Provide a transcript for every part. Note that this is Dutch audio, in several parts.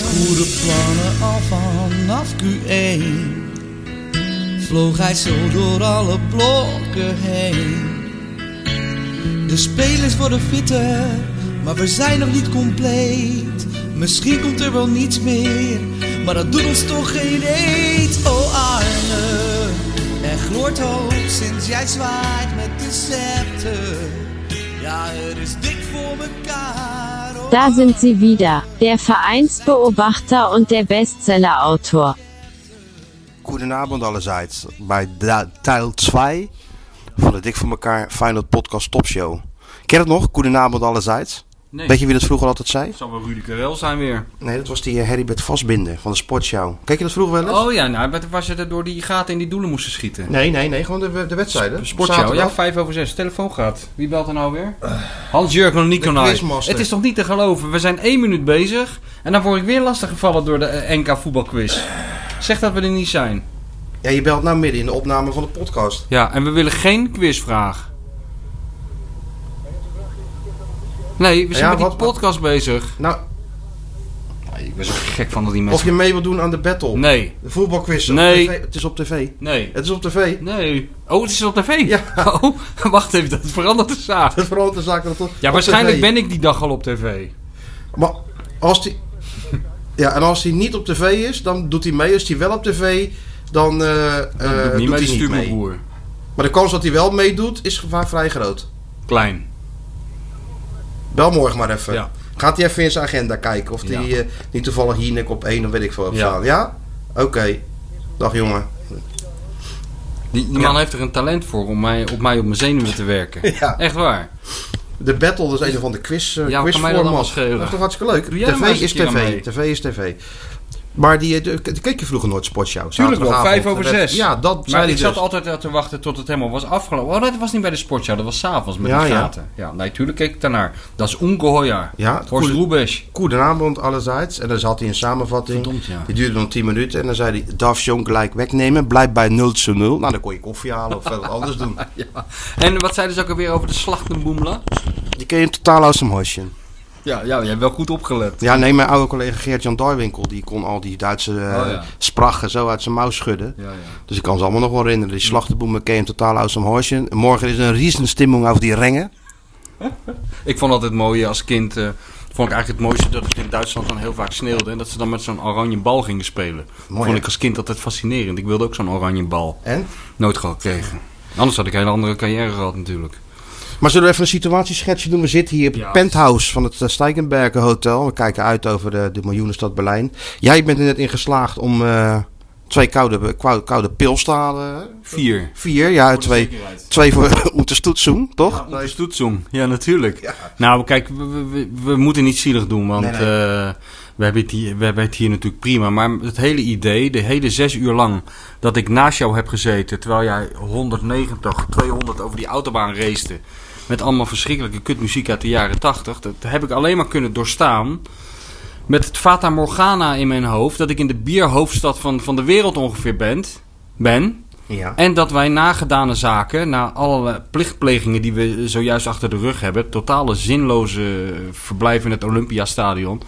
goede plannen al vanaf Q1 Vloog hij zo door alle blokken heen De spelers worden fitter, maar we zijn nog niet compleet Misschien komt er wel niets meer, maar dat doet ons toch geen eet Oh Arne, er gloort hoop sinds jij zwaait met de scepter Ja, het is dik voor mekaar oh Da sind sie wieder, der Vereinsbeobachter und der Bestsellerautor. Goedenavond allerseits bij da- Teil 2 van de Dik voor elkaar Feyenoord Podcast Top Show. Ken je dat nog? Goedenavond allerseits. Nee, Weet je wie dat vroeger altijd zei? het zal wel Rudy Karel zijn weer. Nee, dat was die eh, Heribert Vastbinden van de Sportshow. Kijk je dat vroeger wel eens? Oh ja, nou, wat was het er door die gaten in die doelen moesten schieten? Nee, nee, nee, gewoon de, de wedstrijden. Sportshow, ja, 5 over 6. Telefoon gaat. Wie belt er nou weer? Hans-Jurgen van Nikonai. Eh, quizmaster. Het is toch niet te geloven? We zijn één minuut bezig en dan word ik weer lastig gevallen door de eh, NK voetbalquiz. Zeg dat we er niet zijn. Ja, je belt nou midden in de opname van de podcast. Ja, en we willen geen quizvraag. Nee, we zijn Ja, met die wat- podcast bezig. Nou, Ik ben zo gek van dat die of mensen... je mee wilt doen aan de battle. Nee, De voetbalquiz. op Nee. tv. Het is op tv. nee, Het is op tv. nee. Oh, het is op tv? Ja. Oh, wacht even, dat verandert de zaak. Het verandert de zaak dat het op Ja, waarschijnlijk tv. ben ik die dag al op tv. Maar als die. Ja, en als hij niet op tv is, dan doet hij mee. Als hij wel op tv, dan, eh, eh, doet niet doet met hij niet mee. stuurboer. Maar de kans dat hij wel meedoet, is gevaar vrij groot. Klein. Bel morgen maar even. Ja. Gaat hij even in zijn agenda kijken of Ja. hij niet toevallig hier nek op één, dan weet ik veel. op Ja. staan. Ja? Oké. Dag jongen. Die, die man heeft er een talent voor om mij, op mij op mijn zenuwen te werken. Ja. Echt waar. De battle dat is een van de quiz eh, Ja, kan mij dat quizformat. allemaal schelen? Dat is toch hartstikke leuk. Doe jij er TV maar eens een is keer aan tv. mee. TV is tv. Maar die, eh, de- keek je vroeger nooit sportshow? Tuurlijk wel, Zaterdagavond. vijf over Dat werd- zes. Ja, dat Maar zei ik hij zat dus. altijd eh, te wachten tot het helemaal was afgelopen. Oh, dat was niet bij de sportshow, dat was s'avonds met Ja, de ja. gaten. Ja, natuurlijk keek ik daarnaar. Dat is ongehoor. Ja, het Horst koele- Roebes. Goedenavond allerzijds. En dan zat hij een samenvatting. Verdomd, ja. Die duurde dan 10 minuten. En dan zei hij, Daf Jong gelijk wegnemen. Blijf bij 0 0. Nou, dan kon je koffie halen of wat anders doen. Ja. En wat zeiden ze ook alweer over de slachtenboemla? Die ken je totaal uit zijn hosje. Ja, ja, jij hebt wel goed opgelet. Ja, nee, mijn oude collega Geert-Jan Darwinkel. Die kon al die Duitse eh, Oh, ja. sprachen zo uit zijn mouw schudden. Ja, ja. Dus ik kan ze allemaal nog wel herinneren. Die slachtenboemen ken je totaal uit zijn hosje. Morgen is een riesenstimmung over die rengen. Ik vond altijd mooi als kind. eh, vond ik eigenlijk het mooiste dat het in Duitsland dan heel vaak sneeuwde. En dat ze dan met zo'n oranje bal gingen spelen. Mooi, vond hè? ik als kind altijd fascinerend. Ik wilde ook zo'n oranje bal. En? Nooit gekregen. Anders had ik een hele andere carrière gehad natuurlijk. Maar zullen we even een situatieschetsje doen? We zitten hier op het Ja. penthouse van het eh, Steigenbergen Hotel. We kijken uit over de, de miljoenenstad Berlijn. Jij bent er net in geslaagd om eh, twee koude, koude, koude pils te halen. hè? Vier. Vier, ja, twee, twee voor om te stoetsen, toch? Ja, nee. Stoetzong. Ja, natuurlijk. Nou, kijk, we, we- we- we moeten niet zielig doen, want Nee, nee. eh, we, hebben het hier, we hebben het hier natuurlijk prima. Maar het hele idee, de hele zes uur lang dat ik naast jou heb gezeten, terwijl jij 190, 200 over die autobaan racete, met allemaal verschrikkelijke kutmuziek uit de jaren 80, dat heb ik alleen maar kunnen doorstaan. Met het Fata Morgana in mijn hoofd, dat ik in de bierhoofdstad van, van de wereld ongeveer ben. ben. Ja. En dat wij nagedane zaken, na alle plichtplegingen die we zojuist achter de rug hebben, totale zinloze verblijf in het Olympiastadion,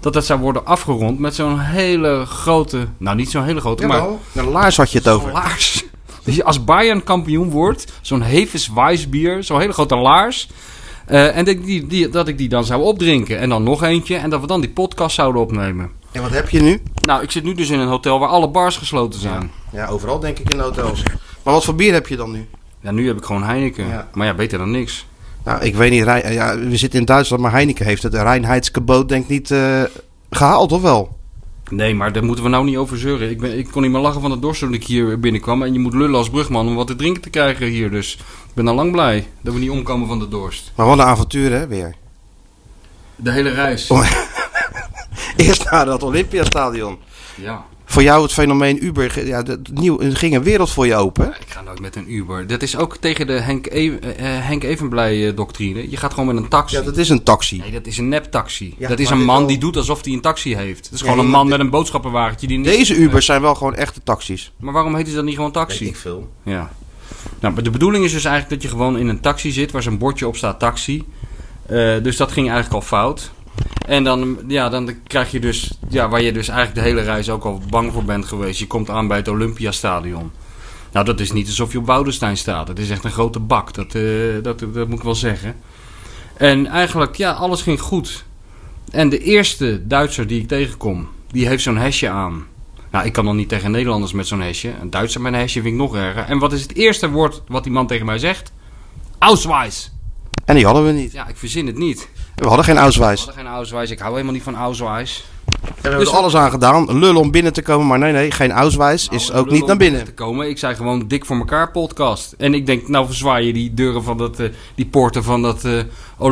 dat dat zou worden afgerond met zo'n hele grote, nou niet zo'n hele grote, maar Jawel, de laars had je het over. laars. Dus als Bayern kampioen wordt, zo'n Heves Weissbier, zo'n hele grote laars. eh, en dat ik die, die, dat ik die dan zou opdrinken. En dan nog eentje. En dat we dan die podcast zouden opnemen. En wat heb je nu? Nou, ik zit nu dus in een hotel waar alle bars gesloten zijn. Ja, overal denk ik in de hotels. Maar wat voor bier heb je dan nu? Ja, nu heb ik gewoon Heineken. Ja. Maar ja, beter dan niks. Nou, ik weet niet. Rijn- eh, ja, we zitten in Duitsland, maar Heineken heeft het Reinheidskeboot denk ik niet eh, gehaald, of wel? Nee, maar daar moeten we nou niet over zeuren. Ik, ben, ik kon niet meer lachen van de dorst toen ik hier binnenkwam. En je moet lullen als brugman om wat te drinken te krijgen hier. Dus ik ben al lang blij dat we niet omkomen van de dorst. Maar wat een avontuur, hè, weer. De hele reis. Oh. Eerst naar dat Olympiastadion. Ja, Voor jou het fenomeen Uber, ge- ja, dat, nieuw, er ging een wereld voor je open. ik ga nooit met een Uber. Dat is ook tegen de Henk, e eh, Henk Evenblij-doctrine. Je gaat gewoon met een taxi. Ja, dat is een taxi. Nee, dat is een neptaxi. Ja, dat is maar een dit man wel- die doet alsof hij een taxi heeft. Dat is Ja, gewoon een maar man dit- met een boodschappenwagentje. Die niks- Deze Ubers zijn wel gewoon echte taxis. Maar waarom heet ze dan niet gewoon taxi? veel. Ja. Nou, maar de bedoeling is dus eigenlijk dat je gewoon in een taxi zit waar zo'n bordje op staat taxi. Eh, dus dat ging eigenlijk al fout. En dan, ja, dan krijg je dus, ja, waar je dus eigenlijk de hele reis ook al bang voor bent geweest. Je komt aan bij het Olympiastadion. Nou, dat is niet alsof je op Woudenstein staat. Het is echt een grote bak, dat, eh, dat, dat moet ik wel zeggen. En eigenlijk, ja, alles ging goed. En de eerste Duitser die ik tegenkom, die heeft zo'n hesje aan. Nou, ik kan dan niet tegen Nederlanders met zo'n hesje. Een Duitser met een hesje vind ik nog erger. En wat is het eerste woord wat die man tegen mij zegt? Ausweis. En die hadden we niet. Ja, ik verzin het niet. We hadden geen We Auswijs. hadden geen Ausweis. Ik hou helemaal niet van Ausweis. We hebben er alles aan gedaan. Lullen om binnen te komen. Maar nee, nee, geen Auswijs is ook niet naar binnen. Te komen. Ik zei gewoon dik voor elkaar podcast. En ik denk, nou verzwaai je die deuren van dat, eh, die poorten van dat eh,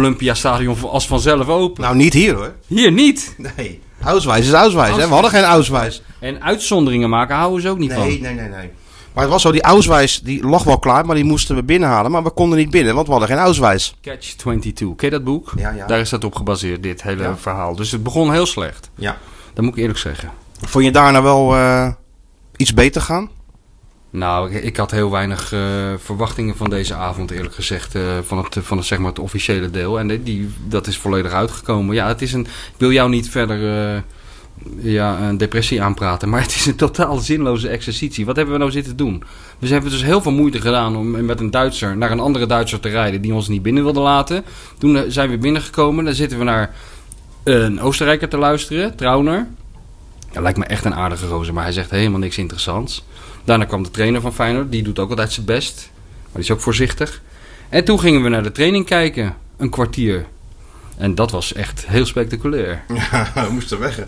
Olympiastadion als vanzelf open. Nou, niet hier hoor. Hier niet. Nee. Auswijs is Auswijs. hè? We hadden geen Auswijs. En uitzonderingen maken houden ze ook niet van. Nee, nee, nee, nee. Maar het was zo, die Auswijs die lag wel klaar, maar die moesten we binnenhalen. Maar we konden niet binnen, want we hadden geen Auswijs. Catch 22. Ken je dat boek? Ja, ja. Daar is dat op gebaseerd, dit hele Ja. verhaal. Dus het begon heel slecht. Ja. Dat moet ik eerlijk zeggen. Vond je daarna wel eh, iets beter gaan? Nou, ik, ik had heel weinig eh, verwachtingen van deze avond, eerlijk gezegd. eh, van het, van het, zeg maar het officiële deel. En die- die, dat is volledig uitgekomen. Ja, het is een. Ik wil jou niet verder. eh, ja, een depressie aanpraten. Maar het is een totaal zinloze exercitie. Wat hebben we nou zitten doen? We hebben dus heel veel moeite gedaan om met een Duitser naar een andere Duitser te rijden die ons niet binnen wilde laten. Toen eh, zijn we binnengekomen. Dan zitten we naar een Oostenrijker te luisteren, Trauner. Ja, lijkt me echt een aardige roze, maar hij zegt helemaal niks interessants. Daarna kwam de trainer van Feyenoord, die doet ook altijd zijn best. Maar die is ook voorzichtig. En toen gingen we naar de training kijken, een kwartier. En dat was echt heel spectaculair. we moesten weg.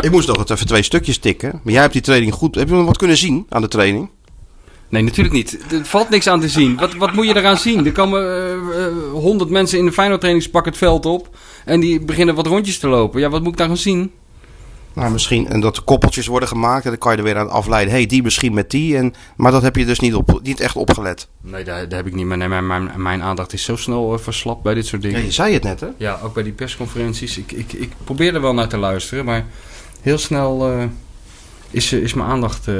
ik moest nog het even twee stukjes tikken. Maar jij hebt die training goed. Heb je nog wat kunnen zien aan de training? Nee, natuurlijk niet. Er valt niks aan te zien. Wat, wat moet je eraan zien? Er komen eh, honderd mensen in een Feyenoord trainingspak het veld op. En die beginnen wat rondjes te lopen. Ja, wat moet ik daar gaan zien? Nou, misschien. En dat er koppeltjes worden gemaakt. En dan kan je er weer aan afleiden. hey, die misschien met die. En, maar dat heb je dus niet, op, niet echt opgelet. Nee, daar, daar heb ik niet meer. Nee, mijn, mijn, mijn aandacht is zo snel eh, verslapt bij dit soort dingen. Ja, je zei het net, hè? Ja, ook bij die persconferenties. Ik, ik, ik probeer er wel naar te luisteren, maar heel snel eh, is, eh, is mijn aandacht eh,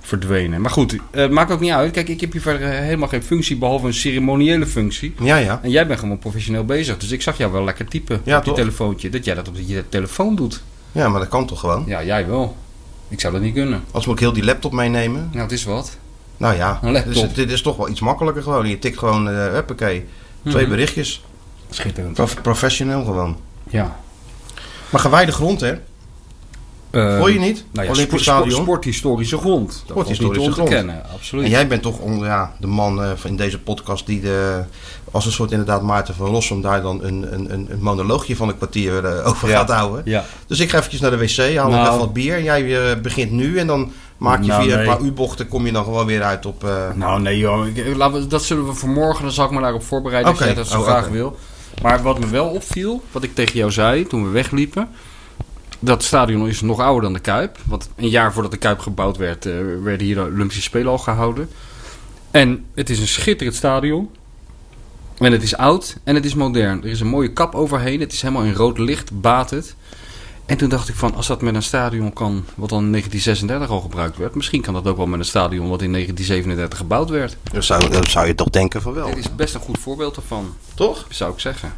verdwenen. Maar goed, eh, maakt ook niet uit. Kijk, ik heb hier verder eh, helemaal geen functie, behalve een ceremoniële functie. Ja, ja. En jij bent gewoon professioneel bezig, dus ik zag jou wel lekker typen Ja, op die toch? telefoontje. Dat jij dat op je telefoon doet. Ja, maar dat kan toch gewoon? Ja, jij wel. Ik zou dat niet kunnen. Als moet ik heel die laptop meenemen. Nou, het is wat. Nou ja, Een laptop. dus het- dit is toch wel iets makkelijker gewoon. Je tikt gewoon, eh huppakee, twee Mhm. berichtjes. Schitterend. Prof- professioneel gewoon. Ja. Maar gewijde grond, hè? Hoor je niet? Nou ja, Olympisch sport- sport- stadion. sporthistorische grond. Dat is niet te Sporthistorische grond. ontkennen, absoluut. En jij bent toch on- ja, de man eh, van- in deze podcast die de, als een soort inderdaad Maarten van Rossum daar dan een, een, een een monoloogje van een kwartier eh, over Ja. gaat houden. Ja. Dus ik ga eventjes naar de wc, haal nog Nou. even wat bier. En jij eh, begint nu en dan maak je Nou, via nee. een paar U-bochten, kom je dan gewoon weer uit op... eh, Nou, nee, joh. Ik- laten we- dat zullen we vanmorgen, dan zal ik me daarop voorbereiden Oké. als jij dat zo Oh, graag oké. wil. Maar wat me wel opviel, wat ik tegen jou zei toen we wegliepen. Dat stadion is nog ouder dan de Kuip. Want een jaar voordat de Kuip gebouwd werd, eh, werden hier de Olympische Spelen al gehouden. En het is een schitterend stadion. En het is oud en het is modern. Er is een mooie kap overheen. Het is helemaal in rood licht, baat het. En toen dacht ik van, als dat met een stadion kan, wat dan in 1936 al gebruikt werd, misschien kan dat ook wel met een stadion wat in 1937 gebouwd werd. dan, zou, dan zou je toch denken van wel, Dit is best een goed voorbeeld ervan, toch? zou ik zeggen.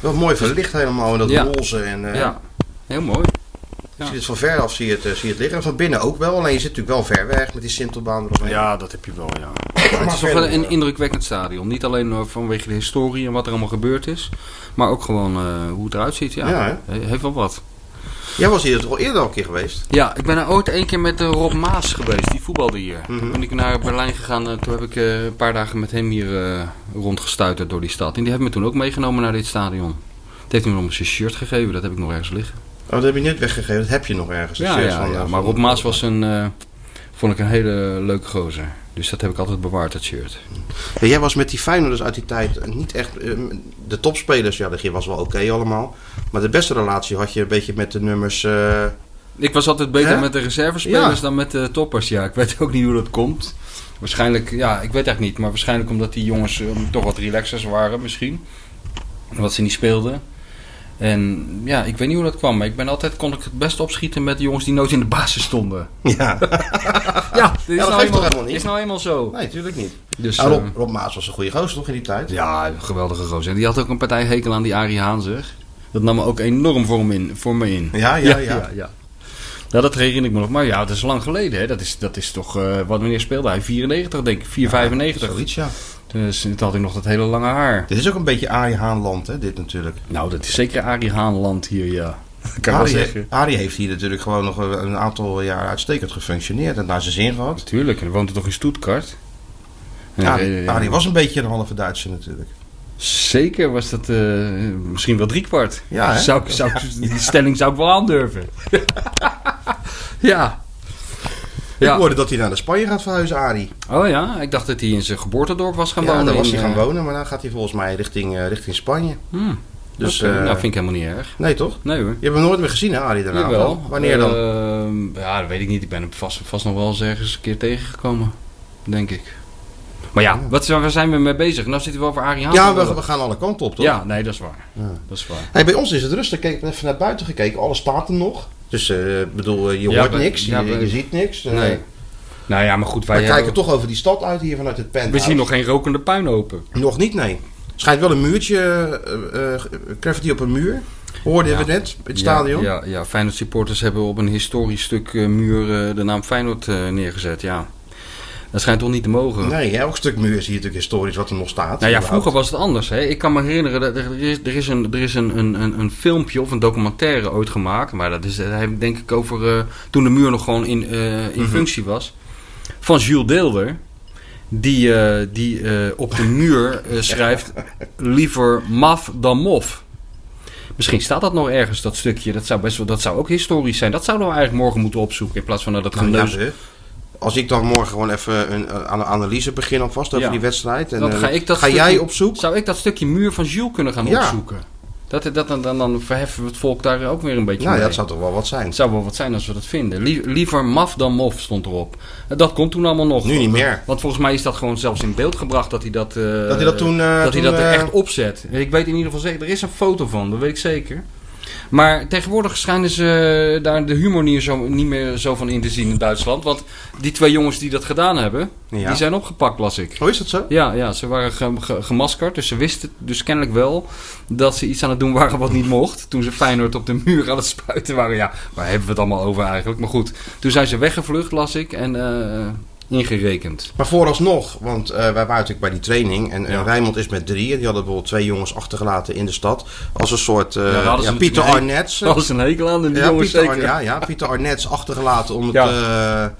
Wel mooi verlicht helemaal in dat Ja. roze en... eh, Ja, heel mooi. Ja. Als je het van ver af zie je het, eh, zie je het liggen. En Van binnen ook wel, alleen je zit natuurlijk wel ver weg met die Sintelbaan eromheen. dat heb je wel, ja. maar Het is toch verder, wel een eh, indrukwekkend stadion. Niet alleen eh, vanwege de historie en wat er allemaal gebeurd is, maar ook gewoon eh, hoe het eruit ziet. Ja, Ja, He- heeft wel wat. Jij was hier toch al eerder al een keer geweest? Ja, ik ben er ooit één keer met eh, Rob Maas geweest, die voetbalde hier. Toen ben ik naar Berlijn gegaan en toen heb ik eh, een paar dagen met hem hier eh, rondgestuiterd door die stad. En die heeft me toen ook meegenomen naar dit stadion. Het heeft me nog eens een shirt gegeven, dat heb ik nog ergens liggen. Oh, dat heb je net weggegeven. Dat heb je nog ergens. Ja, ja, ja, maar Rob Maas was een, eh, vond ik een hele leuke gozer. Dus dat heb ik altijd bewaard, dat shirt. jij was met die Feyenoorders uit die tijd niet echt... eh, de topspelers, ja, dat was wel oké allemaal. Maar de beste relatie had je een beetje met de nummers... eh, Ik was altijd beter Hè? met de reservespelers Ja. dan met de toppers, ja. Ik weet ook niet hoe dat komt. Waarschijnlijk, ja, ik weet echt niet. Maar waarschijnlijk omdat die jongens eh, toch wat relaxers waren misschien. Wat ze niet speelden. En ja, ik weet niet hoe dat kwam. Maar ik ben altijd, kon ik het best opschieten met de jongens die nooit in de basis stonden. ja. Ja, dat is, dat nou, geeft toch eenmaal, helemaal niet? is nou eenmaal zo. Nee, natuurlijk niet. Dus, Ah, eh, Rob, Rob Maas was een goede gozer toch in die tijd? Ja, een geweldige gozer. En die had ook een partij hekel aan die Arie Haan, zeg. Dat nam me ook enorm voor me in. Voor me in. Ja, ja, ja. ja, ja. Ja, dat herinner ik me nog. Maar ja, dat is lang geleden. Hè. Dat, is, dat is toch... eh, wat wanneer speelde hij? 94, denk ik. 4,95. Zoiets, ja. dus toen had ik nog dat hele lange haar. Dit is ook een beetje Arie Haanland, hè, dit natuurlijk. Nou, dat is zeker Arie Haanland hier, ja. Dat kan ik wel Arie, zeggen. Arie heeft hier natuurlijk gewoon nog een een aantal jaar uitstekend gefunctioneerd en naar zijn zin gehad. Tuurlijk, hij woont er toch in Stuttgart? Arie, Eh, Arie was een beetje een halve Duitser natuurlijk. Zeker was dat eh, misschien wel driekwart. Ja, hè? zou, ik- zou, ik- Die stelling zou ik wel aandurven. ja. Ik ja. hoorde dat hij naar de Spanje gaat verhuizen, Arie. Oh ja, ik dacht dat hij in zijn geboortedorp was gaan Ja, wonen. daar was in, hij gaan eh, wonen, maar dan gaat hij volgens mij richting, eh, richting Spanje. hmm. Dus, Oké, eh, nou, vind ik helemaal niet erg. Nee, toch? Nee hoor. Je hebt hem nooit meer gezien, hè, Arie, daarna? Jawel. Wanneer dan? Ehm, ja, dat weet ik niet. Ik ben hem vast, vast nog wel eens ergens een keer tegengekomen. Denk ik. Maar ja, wat, zijn- waar zijn we mee bezig? Nou zitten we over Arie Haan. ja, we, we gaan alle kanten op, toch? Ja, nee, dat is waar. Dat is waar. Hey, bij ons is het rustig. Kijk, ik ben even naar buiten gekeken. Alles staat er nog. Dus eh, ik bedoel, eh, je Ja, hoort maar- niks, ja, je, maar- je ziet niks. eh, Nee. Nou ja, maar goed, wij We kijken hebben- toch over die stad uit hier vanuit het penthouse. We zien nog geen rokende puin open. Nog niet, nee. Schijnt wel een muurtje, eh, eh, graffiti op een muur. Hoorden we net, in het stadion. Ja, ja, ja, Feyenoord supporters hebben op een historisch stuk eh, muur eh, de naam Feyenoord eh, neergezet, ja. Dat schijnt toch niet te mogen? Nee, elk stuk muur is hier natuurlijk historisch wat er nog staat. Nou ja, überhaupt. vroeger was het anders. Hè? Ik kan me herinneren, dat er er is, er is, een, er is een, een, een, een filmpje of een documentaire ooit gemaakt. Maar dat is dat heeft denk ik over eh, toen de muur nog gewoon in, eh, Mhm. in functie was. Van Jules Deelder. Die, eh, die eh, op de muur eh, schrijft liever maf dan mof. Misschien staat dat nog ergens, dat stukje. Dat zou, best wel, dat zou ook historisch zijn. Dat zouden we eigenlijk morgen moeten opzoeken. In plaats van dat het Nou ja, geneuzel hè. Als ik dan morgen gewoon even een, eh, aan- analyse begin alvast over Ja. die wedstrijd. En, Dan eh, ga ik dat stukje- jij op zoek? Zou ik dat stukje muur van Jules kunnen gaan Ja. opzoeken? Dat, dat, dan, dan, dan verheffen we het volk daar ook weer een beetje Nou ja, mee. dat zou toch wel wat zijn. Het zou wel wat zijn als we dat vinden. Lie- liever maf dan mof stond erop. En Dat kon toen allemaal nog. Nu niet meer. Want volgens mij is dat gewoon zelfs in beeld gebracht dat hij dat... eh, Dat hij dat toen, eh, dat toen, hij dat er eh, echt opzet. Ik weet in ieder geval zeker, er is een foto van, dat weet ik zeker. Maar tegenwoordig schijnen ze eh, daar de humor niet, zo, niet meer zo van in te zien in Duitsland. Want die twee jongens die dat gedaan hebben, Ja. die zijn opgepakt, las ik. Hoe is dat zo? Ja, ja, ze waren ge- ge- gemaskerd, dus ze wisten dus kennelijk wel dat ze iets aan het doen waren wat niet mocht. Toen ze Feyenoord op de muur aan het spuiten waren. Ja, waar hebben we het allemaal over eigenlijk? Maar goed, toen zijn ze weggevlucht, las ik, en eh, ingerekend. Maar vooralsnog, want eh, wij waren natuurlijk bij die training. En, en Ja. Rijnmond is met drieën. Die hadden bijvoorbeeld twee jongens achtergelaten in de stad. Als een soort eh, daar hadden ze ja, natuurlijk Pieter een- Arnets. Dat was een hekel aan, die Ja, jongens Pieter, zeker. Arn- ja, ja, Pieter Arnets achtergelaten om, het, Ja. eh,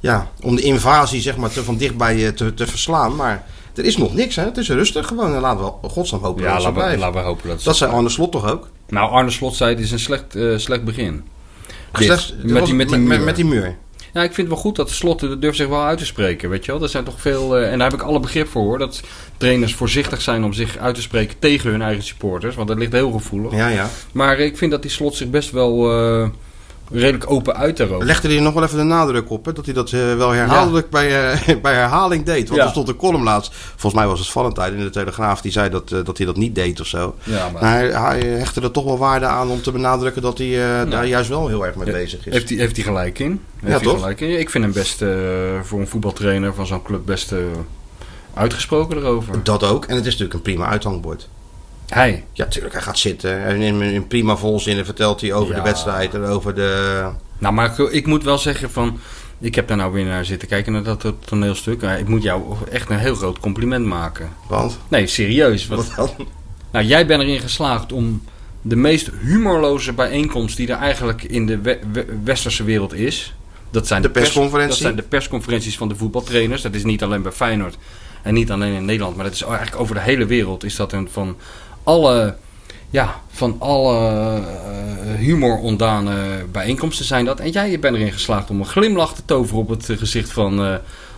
ja, om de invasie zeg maar, te, van dichtbij eh, te, te verslaan. Maar er is nog niks. Hè? Het is rustig gewoon. En laten we godsnaam hopen Ja, dat het zo laten we, blijft. laten we hopen dat ze... Dat zei Arne Slot toch ook? Nou, Arne Slot zei het is een slecht, eh, slecht begin. Dit, Slechts- met, dat was- die, met, die met, muur. met die muur. Ja, ik vind het wel goed dat Slot eh, durft zich wel uit te spreken, weet je wel. Er zijn toch veel, eh, en daar heb ik alle begrip voor hoor, dat trainers voorzichtig zijn om zich uit te spreken tegen hun eigen supporters, want dat ligt heel gevoelig. Ja, ja. Maar ik vind dat die Slot zich best wel eh, redelijk open uit daarover. Legde hij nog wel even de nadruk op, hè? dat hij dat eh, wel herhaaldelijk bij, eh, bij herhaling deed. Want Ja. er stond een column laatst, volgens mij was het Valentijn in de Telegraaf, die zei dat, eh, dat hij dat niet deed of zo. Ja, maar- Maar hij, hij hechtte er toch wel waarde aan om te benadrukken dat hij eh, daar juist wel heel erg mee bezig is. Nou. Heeft hij heeft hij gelijk in? Heeft hij toch? Gelijk in? Ik vind hem best eh, voor een voetbaltrainer van zo'n club best eh, uitgesproken erover. Dat ook, en het is natuurlijk een prima uithangbord. Hij. Ja, tuurlijk, hij gaat zitten en in, in prima volzinnen vertelt hij over Ja. de wedstrijd en over de... Nou, maar ik, ik moet wel zeggen van... Ik heb daar nou weer naar zitten kijken naar dat toneelstuk. Maar Ik moet jou echt een heel groot compliment maken. Want, Nee, serieus. want- wat dan? Nou, jij bent erin geslaagd om de meest humorloze bijeenkomst die er eigenlijk in de we- we- westerse wereld is. Dat zijn De pers- persconferentie? dat zijn de persconferenties van de voetbaltrainers. Dat is niet alleen bij Feyenoord en niet alleen in Nederland, maar dat is eigenlijk over de hele wereld. Is dat een van alle, ja, van alle eh, humor ontdane bijeenkomsten zijn dat. En jij bent erin geslaagd om een glimlach te toveren op het eh, gezicht van eh,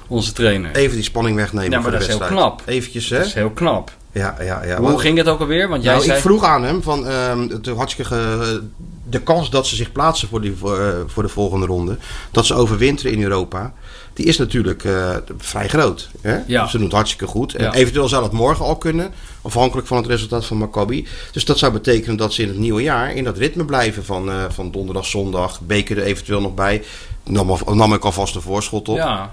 onze trainer. Even die spanning wegnemen Ja, maar voor dat de is heel wedstrijd. knap. Eventjes, hè? Dat is heel knap. Ja, ja, ja. Hoe Want- ging het ook alweer? Want jij Nou, zei... ik vroeg aan hem van ehm, het hartstikke ge- de kans dat ze zich plaatsen voor, die, voor, eh, voor de volgende ronde, dat ze overwinteren in Europa, die is natuurlijk eh, vrij groot. Hè? Ja. Ze doen het hartstikke goed. En Ja. eventueel zou dat morgen al kunnen, afhankelijk van het resultaat van Maccabi. Dus dat zou betekenen dat ze in het nieuwe jaar in dat ritme blijven van, eh, van donderdag, zondag, beker er eventueel nog bij. Nam, al- nam ik alvast de voorschot op. ja,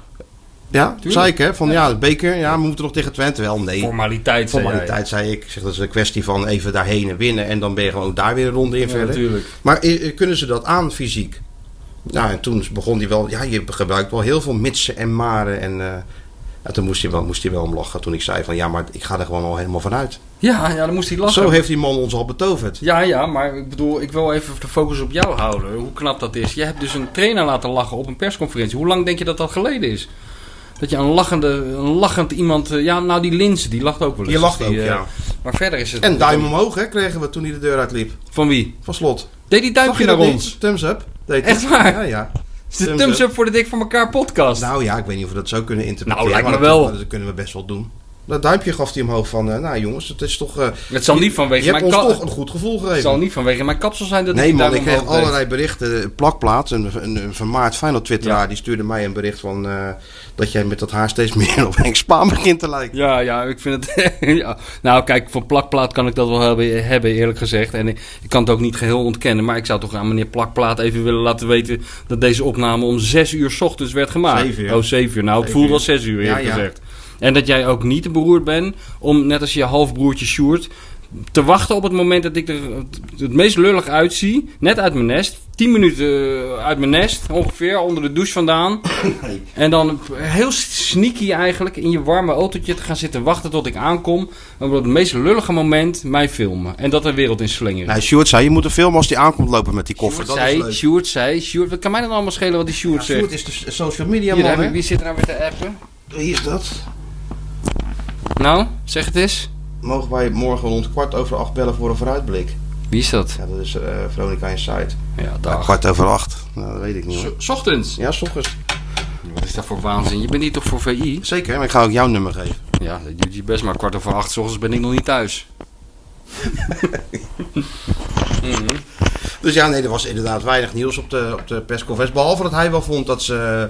Ja, zei ik hè? Van ja, de beker, ja, we moeten nog tegen Twente. Wel, nee. Formaliteit, zei jij. Formaliteit, zei ik. Ik zeg, dat is een kwestie van even daarheen en winnen. En dan ben je gewoon daar weer een ronde in Ja, verder. natuurlijk. Maar eh, eh, kunnen ze dat aan fysiek? Nou, en toen begon hij wel... Ja, je gebruikt wel heel veel mitsen en maren. En, eh, en toen moest hij, wel, moest hij wel om lachen toen ik zei van... Ja, maar ik ga er gewoon al helemaal vanuit. Ja, ja, dan moest hij lachen. Zo heeft die man ons al betoverd. Ja, ja, maar ik bedoel, ik wil even de focus op jou houden. Hoe knap dat is. Je hebt dus een trainer laten lachen op een persconferentie. Hoe lang denk je dat dat geleden is? Dat je een, lachende, een lachend iemand... eh, Ja, nou die Linse, die lacht ook wel eens. Die lacht Dus ook, eh, ja. Maar verder is het... En duim omhoog hè, kregen we toen hij de deur uitliep. Van wie? Van slot. Deed die Zag duimpje je naar dat niet? ons? Thumbs up. Deed hij. Echt waar? Ja, ja. Het is de thumbs up voor de Dik van elkaar podcast. Nou ja, ik weet niet of we dat zo kunnen interpreteren. Nou, lijkt me maar dat- wel. maar Dat kunnen we best wel doen. Dat duimpje gaf hij omhoog van, eh, nou jongens, het is toch... eh, het zal niet vanwege je hebt mijn ons kap- toch een goed gevoel het zal gegeven. niet vanwege mijn kapsel zijn dat Nee die man, duim ik kreeg omhoog deed. allerlei berichten. Plakplaats, een, een, een vermaard Feyenoord twitteraar, Ja. die stuurde mij een bericht van... eh, dat jij met dat haar steeds meer op Henk Spaan begint te lijken. Ja, ja, ik vind het. ja. Nou, kijk, van plakplaat kan ik dat wel hebben, hebben, eerlijk gezegd. En ik, ik kan het ook niet geheel ontkennen. Maar ik zou toch aan meneer Plakplaat even willen laten weten. dat deze opname om 6 uur 's ochtends werd gemaakt. Zeven uur. Oh, 7 uur. Nou, het Zeven voelde uur. als 6 uur, eerlijk Ja, ja. gezegd. En dat jij ook niet beroerd bent om, net als je halfbroertje Sjoerd. te wachten op het moment dat ik er het- het meest lullig uitzie. net uit mijn nest. 10 minuten eh, uit mijn nest, ongeveer, onder de douche vandaan. En dan heel sneaky eigenlijk in je warme autootje te gaan zitten wachten tot ik aankom. En op het meest lullige moment mij filmen. En dat de wereld in slingeren. Nou, Sjoerd zei, je moet een film als die aankomt lopen met die koffer. Sjoerd dat is zei, leuk. Sjoerd zei, Sjoerd, wat kan mij dan allemaal schelen wat die Sjoerd Ja, zegt? Sjoerd is de social media Hier, man, heb ik, hè? wie zit er nou weer te appen? Wie is dat? Nou, zeg het eens. Mogen wij morgen rond kwart over acht bellen voor een vooruitblik? Wie is dat? Ja, dat is eh Veronica Insight. Ja, Ja, dag. kwart over acht. Nou, dat weet ik niet hoor. S ochtends. Ja, s ochtends. Wat is dat voor waanzin? Je bent niet toch voor VI? Zeker, maar ik ga ook jouw nummer geven. Ja, dat doet je best, maar kwart over acht 's ochtends ben ik nog niet thuis. Dus ja, nee, er was inderdaad weinig nieuws op de, op de persconferentie. Behalve dat hij wel vond dat ze,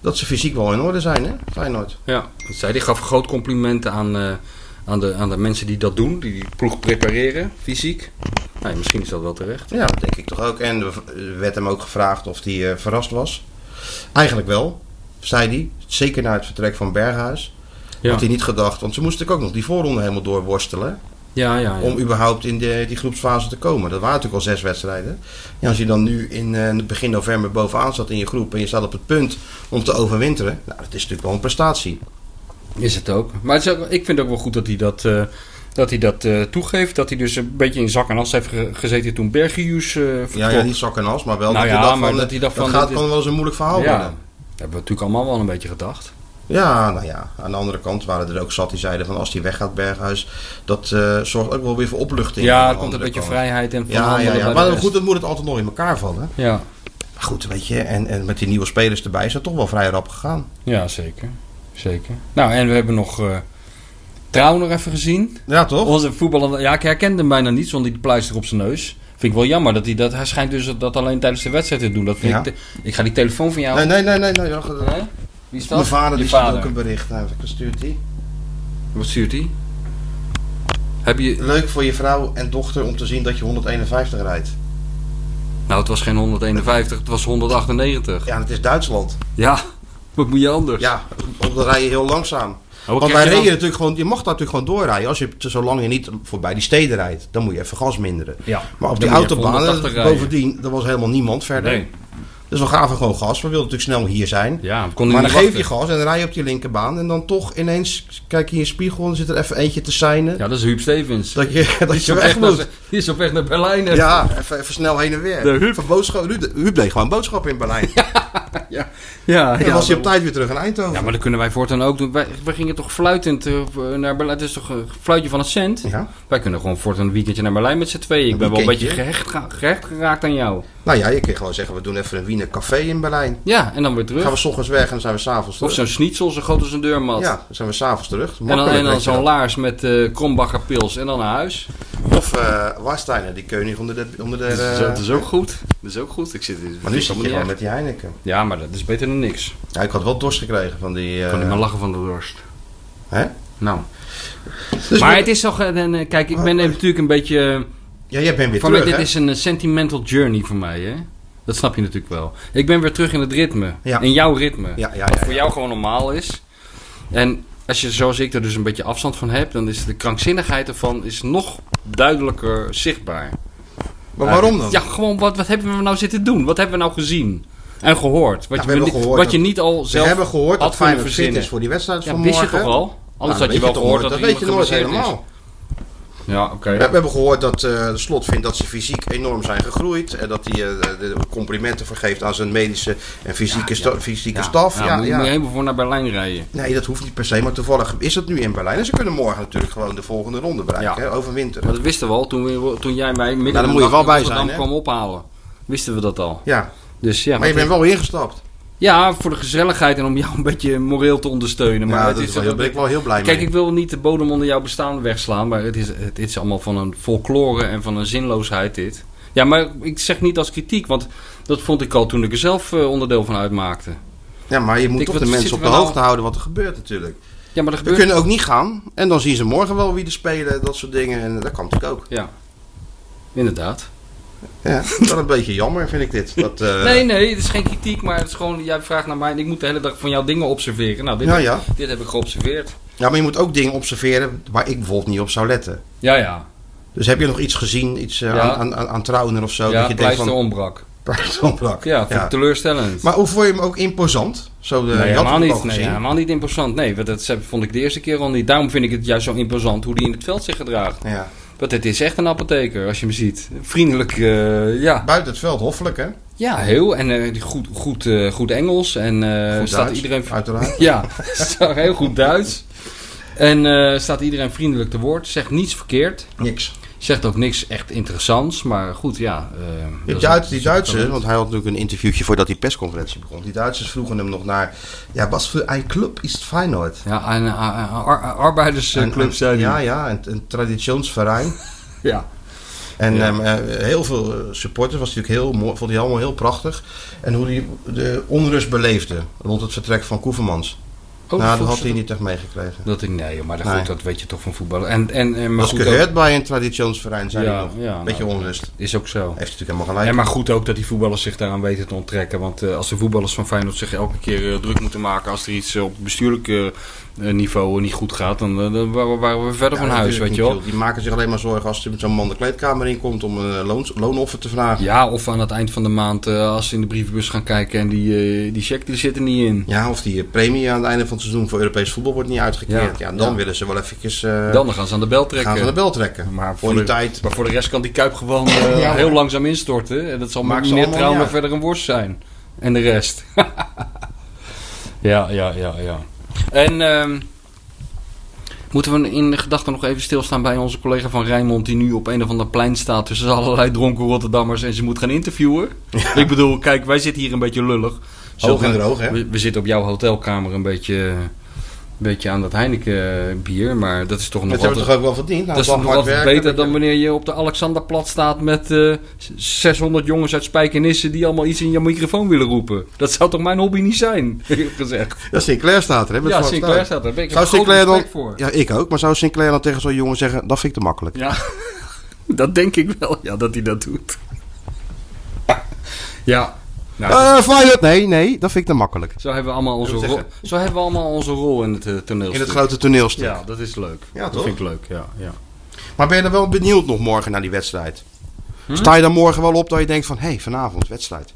dat ze fysiek wel in orde zijn, hè? Feyenoord. Ja, dat zei hij. gaf groot complimenten aan, eh, aan, de, aan de mensen die dat doen. Die die ploeg prepareren, fysiek. Nee, misschien is dat wel terecht. Ja, dat denk ik toch ook. En er werd hem ook gevraagd of hij eh, verrast was. Eigenlijk wel, zei hij. Zeker na het vertrek van Berghuis. Ja. Had hij niet gedacht, want ze moesten ook nog die voorronde helemaal doorworstelen. Ja, ja, ja. om überhaupt in de, die groepsfase te komen. Dat waren natuurlijk al zes wedstrijden. En als je dan nu in eh, begin november bovenaan zat in je groep en je staat op het punt om te overwinteren, nou, dat is natuurlijk wel een prestatie. Is het ook. Maar het is ook- ik vind het ook wel goed dat hij dat, eh, dat, hij dat eh, toegeeft. Dat hij dus een beetje in zak en as heeft ge- gezeten toen Bergius eh Ja, vertrok. ja, niet zak en as, maar wel Nou dat, ja, je dacht maar van, dat hij dacht van, gaat dit is- kan wel eens een moeilijk verhaal Ja. worden. Dat hebben we natuurlijk allemaal wel een beetje gedacht. Ja, nou ja. Aan de andere kant waren er ook zat die zeiden van als die weggaat Berghuis, dat eh, zorgt ook wel weer voor opluchting. aan ja, de er komt een andere beetje kant. vrijheid en van Ja, ja, handelen ja. bij maar de dan goed, rest. dan moet het altijd nog in elkaar vallen. Ja, Maar goed, weet je, en, en met die nieuwe spelers erbij is dat toch wel vrij rap gegaan. ja, zeker. Zeker. Nou, en we hebben nog eh Trauner even gezien. Ja, toch? Onze voetballer, ja, ik herkende hem bijna niet zonder die pleister op zijn neus. Vind ik wel jammer dat hij dat. Hij schijnt dus dat alleen tijdens de wedstrijd te doen. Dat vind Ja. ik, te- ik ga die telefoon van jou. Nee, nee, nee, nee. nee, ja, Nee? Wie is dat? Mijn vader Je die stuurt ook een bericht. Nou, ik stuurt die. Wat stuurt hij? Heb je. Leuk voor je vrouw en dochter om te zien dat je 151 rijdt. Nou, het was geen 151, het was 198. Ja, dat is Duitsland. Ja, wat moet je anders? Ja, dan rij je heel langzaam. Oh, wat Want krijg wij je reden dan? natuurlijk gewoon, je mag daar natuurlijk gewoon doorrijden. Als je zolang je niet voorbij die steden rijdt, dan moet je even gas minderen. Ja, Maar op dan die moet je even autobanen, 180 rijden. bovendien, er was helemaal niemand verder. Nee. Dus we gaven gewoon gas. We wilden natuurlijk snel hier zijn. Ja, we konden maar niet dan geef je wachten. gas en dan rij je op die linkerbaan. En dan toch ineens kijk je in je spiegel en zit er even eentje te seinen. Ja, dat is Huub Stevens. Dat je, dat die, je is op weg weg moet. naar, die is op weg naar Berlijn. hè? Ja, even, even snel heen en weer. De Huub. Van boodschap, Ruud, Huub deed gewoon boodschappen in Berlijn. ja, en ja, dan was hij op dat- tijd weer terug in Eindhoven. ja, maar dat kunnen wij voortaan ook doen. Wij, wij gingen toch fluitend eh, naar Berlijn. Het is toch een fluitje van een cent? Ja. Wij kunnen gewoon voortaan een weekendje naar Berlijn met z'n tweeën. Ik Een ben wel een beetje weekendje? gehecht, ga- gehecht geraakt aan jou. Nou ja, je kunt gewoon zeggen, we doen even een Wiener café in Berlijn. Ja, en dan weer terug. Gaan we s ochtends weg en dan zijn we s'avonds Of terug. zo'n schnitzel, zo groot als een deurmat. Ja, dan zijn we s'avonds terug. En dan, Makkelijk, en dan weet je zo'n wel. laars met eh krombacher pils en dan naar huis. Of eh Warsteiner, die koning onder de... Onder de eh, ook goed. Dat is ook goed. Ik zit in maar nu zit je gewoon met die Heineken. Ja, maar dat is beter dan niks. Ik Ja, ik had wel dorst gekregen van die... eh, kan niet meer lachen van de dorst. hè? Nou. Dus maar we- Oh. het is toch... eh, en, eh, Kijk, ik ben natuurlijk een beetje... eh, Ja, jij bent weer Van mij, terug, dit hè? is een eh, sentimental journey voor mij, hè? Dat snap je natuurlijk wel. Ik ben weer terug in het ritme. Ja. In jouw ritme. Ja, ja, Wat ja, voor ja. jou gewoon normaal is. En als je zoals ik er dus een beetje afstand van hebt, dan is de krankzinnigheid ervan is nog duidelijker zichtbaar. Maar waarom dan? Ja, gewoon wat, wat hebben we nou zitten doen? Wat hebben we nou gezien? En gehoord. Ja, Wat, we je, hebben niet, gehoord wat je dat- niet al We zelf hebben gehoord had dat kunnen Feyenoord fit verzinnen. is voor die wedstrijd Ja, van wist je morgen. toch al? Anders Nou, had je dat wel weet gehoord toch dat, nooit. er dat weet je iemand nooit geblesseerd is. helemaal. Ja, oké. We we hebben gehoord dat eh, de slot vindt dat ze fysiek enorm zijn gegroeid. En dat hij eh, de- de complimenten vergeeft aan zijn medische en fysieke, sta- fysieke staf. Ja, Ja, moet ja. moet je helemaal voor naar Berlijn rijden. Nee, dat hoeft niet per se. Maar toevallig is het nu in Berlijn. En ze kunnen morgen natuurlijk gewoon de volgende ronde bereiken. Ja. Hè, overwinteren. Maar dat wisten we al toen, we- toen jij mij midden daar in de moet je nacht wel in bij zijn, Rotterdam hè? kwam ophalen. Wisten we dat al. Ja, Dus ja, maar je wat- bent wel ingestapt. ja, voor de gezelligheid en om jou een beetje moreel te ondersteunen. Maar Maar ja, het dat is is wel, daar ben ik wel heel blij Kijk, mee. ik wil niet de bodem onder jouw bestaan wegslaan, maar het is, het is allemaal van een folklore en van een zinloosheid dit. Ja, maar ik zeg niet als kritiek, want dat vond ik al toen ik er zelf eh, onderdeel van uitmaakte. Ja, maar je moet Kijk, toch wat de mensen zitten op de we nou- hoogte houden wat er gebeurt natuurlijk. Ja, maar dat We gebeurt... kunnen ook niet gaan. En dan zien ze morgen wel wie er spelen en dat soort dingen. En dat kan natuurlijk ook. Ja, inderdaad. Ja, wel een beetje jammer vind ik dit. Dat, eh, nee, nee, het is geen kritiek, maar het is gewoon, jij vraagt naar mij en ik moet de hele dag van jouw dingen observeren. Nou, dit, Ja, ja. dit heb ik geobserveerd. Ja, maar je moet ook dingen observeren waar ik bijvoorbeeld niet op zou letten. Ja, ja. Dus heb je nog iets gezien, iets eh, Ja. aan, aan, aan, aan Trauner of zo? dat ja, je denkt pleister van... ombrak. Pleisteronbrak. Ja, vind ik teleurstellend. Maar hoe vond je hem ook imposant? Zo de, nee, je had helemaal hem ook niet, al nee, gezien. helemaal niet imposant. Nee, want dat ze- vond ik de eerste keer al niet. Daarom vind ik het juist zo imposant hoe die in het veld zich gedraagt. ja. Want het is echt een apotheker, als je hem ziet. Vriendelijk, eh, ja. Buiten het veld, hoffelijk Eh, hè? Ja, heel. En eh, die goed, goed, eh, goed Engels. En eh, Goed staat Duits, Ah. iedereen... Uiteraard. Ja, staat heel goed Duits. En eh, staat iedereen vriendelijk te woord. Zegt niets verkeerd. Niks. Zegt ook niks echt interessants. Maar goed, ja. eh, Je dat hebt is- Duits, die Duitsers, want hij had natuurlijk een interviewtje voordat die persconferentie begon. Die Duitsers vroegen hem nog naar, ja, wat voor een club is het Feyenoord? Ja, een a- a- ar- eh, arbeidersclub Een- zijn die. Ja, ja, een, een traditionsverein. ja. En Ja. ehm, eh, heel veel eh, supporters was natuurlijk heel mooi, vond hij allemaal heel prachtig. En hoe hij de onrust beleefde rond het vertrek van Koevermans. Oh, nou, dat volgens- had hij niet echt meegekregen. Dat ik, nee, joh, maar dat, Nee. goed, dat weet je toch van voetballen. En, en, en, maar Was goed, gehoord bij een traditionsverein, zei Ja, hij nog. ja, Beetje nou, onrust. ook- is ook zo. Heeft hij natuurlijk helemaal gelijk. En maar goed ook dat die voetballers zich daaraan weten te onttrekken. Want eh, als de voetballers van Feyenoord zich elke keer eh, druk moeten maken... als er iets eh, op bestuurlijk eh, eh, niveau niet goed gaat... dan, eh, dan waren we- waren we verder Ja, van huis, natuurlijk weet je niet, wel. joh. Die maken zich alleen maar zorgen als hij met zo'n man de kleedkamer in komt om een eh, loons- loonoffer te vragen. Ja. Ja, of aan het eind van de maand eh, als ze in de brievenbus gaan kijken... en die, eh, die check die zit er niet in. of die eh, premie aan het einde van het seizoen voor Europees voetbal wordt niet uitgekeerd. Ja. Ja, dan Ja. willen ze wel eventjes eh, Dan gaan ze aan de bel trekken. gaan ze aan de bel trekken. Maar voor die de, tijd. Maar voor de rest kan die Kuip gewoon eh, Ja, hoor. heel langzaam instorten. En dat zal Maakt Maakt ze meneer allemaal niet Trauner uit. verder een worst zijn. En de rest. ja, ja, ja, ja. En ehm, moeten we in de gedachten nog even stilstaan bij onze collega van Rijnmond... die nu op een of ander plein staat tussen allerlei dronken Rotterdammers... en ze moet gaan interviewen? Ik bedoel, kijk, wij zitten hier een beetje lullig. Hoog en Zulke- droog, hè? we, we zitten op jouw hotelkamer een beetje, een beetje aan dat Heineken eh, bier, maar dat is toch nog Dat altijd... hebben we toch ook wel verdiend? Nou, Dat is dan nog hard wat werken, beter dat je- dan wanneer je op de Alexanderplat staat met eh, 600 jongens uit Spijkenissen die allemaal iets in je microfoon willen roepen. Dat zou toch mijn hobby niet zijn, eerlijk gezegd. Ja, Sinclair staat er, hè? met ja, Zwarte Sinclair Staart. staat er. Ik heb Zou er groot Sinclair dan... respect voor. Ja, ik ook. Maar zou Sinclair dan tegen zo'n jongen zeggen... dat vind ik te makkelijk. Ja, dat denk ik wel, ja, dat hij dat doet. Ja, nou, Eh, Feyenoord, nee, nee, dat vind ik te makkelijk. zo, hebben we allemaal onze Ik wil rol, zo hebben we allemaal onze rol in het eh, In toneelstuk. het grote toneelstuk. Ja, dat is leuk. Ja, dat toch? vind ik leuk, ja. ja. Maar ben je er wel benieuwd nog morgen naar die wedstrijd? Hm? Sta je dan morgen wel op dat je denkt van... hé, hey, vanavond wedstrijd.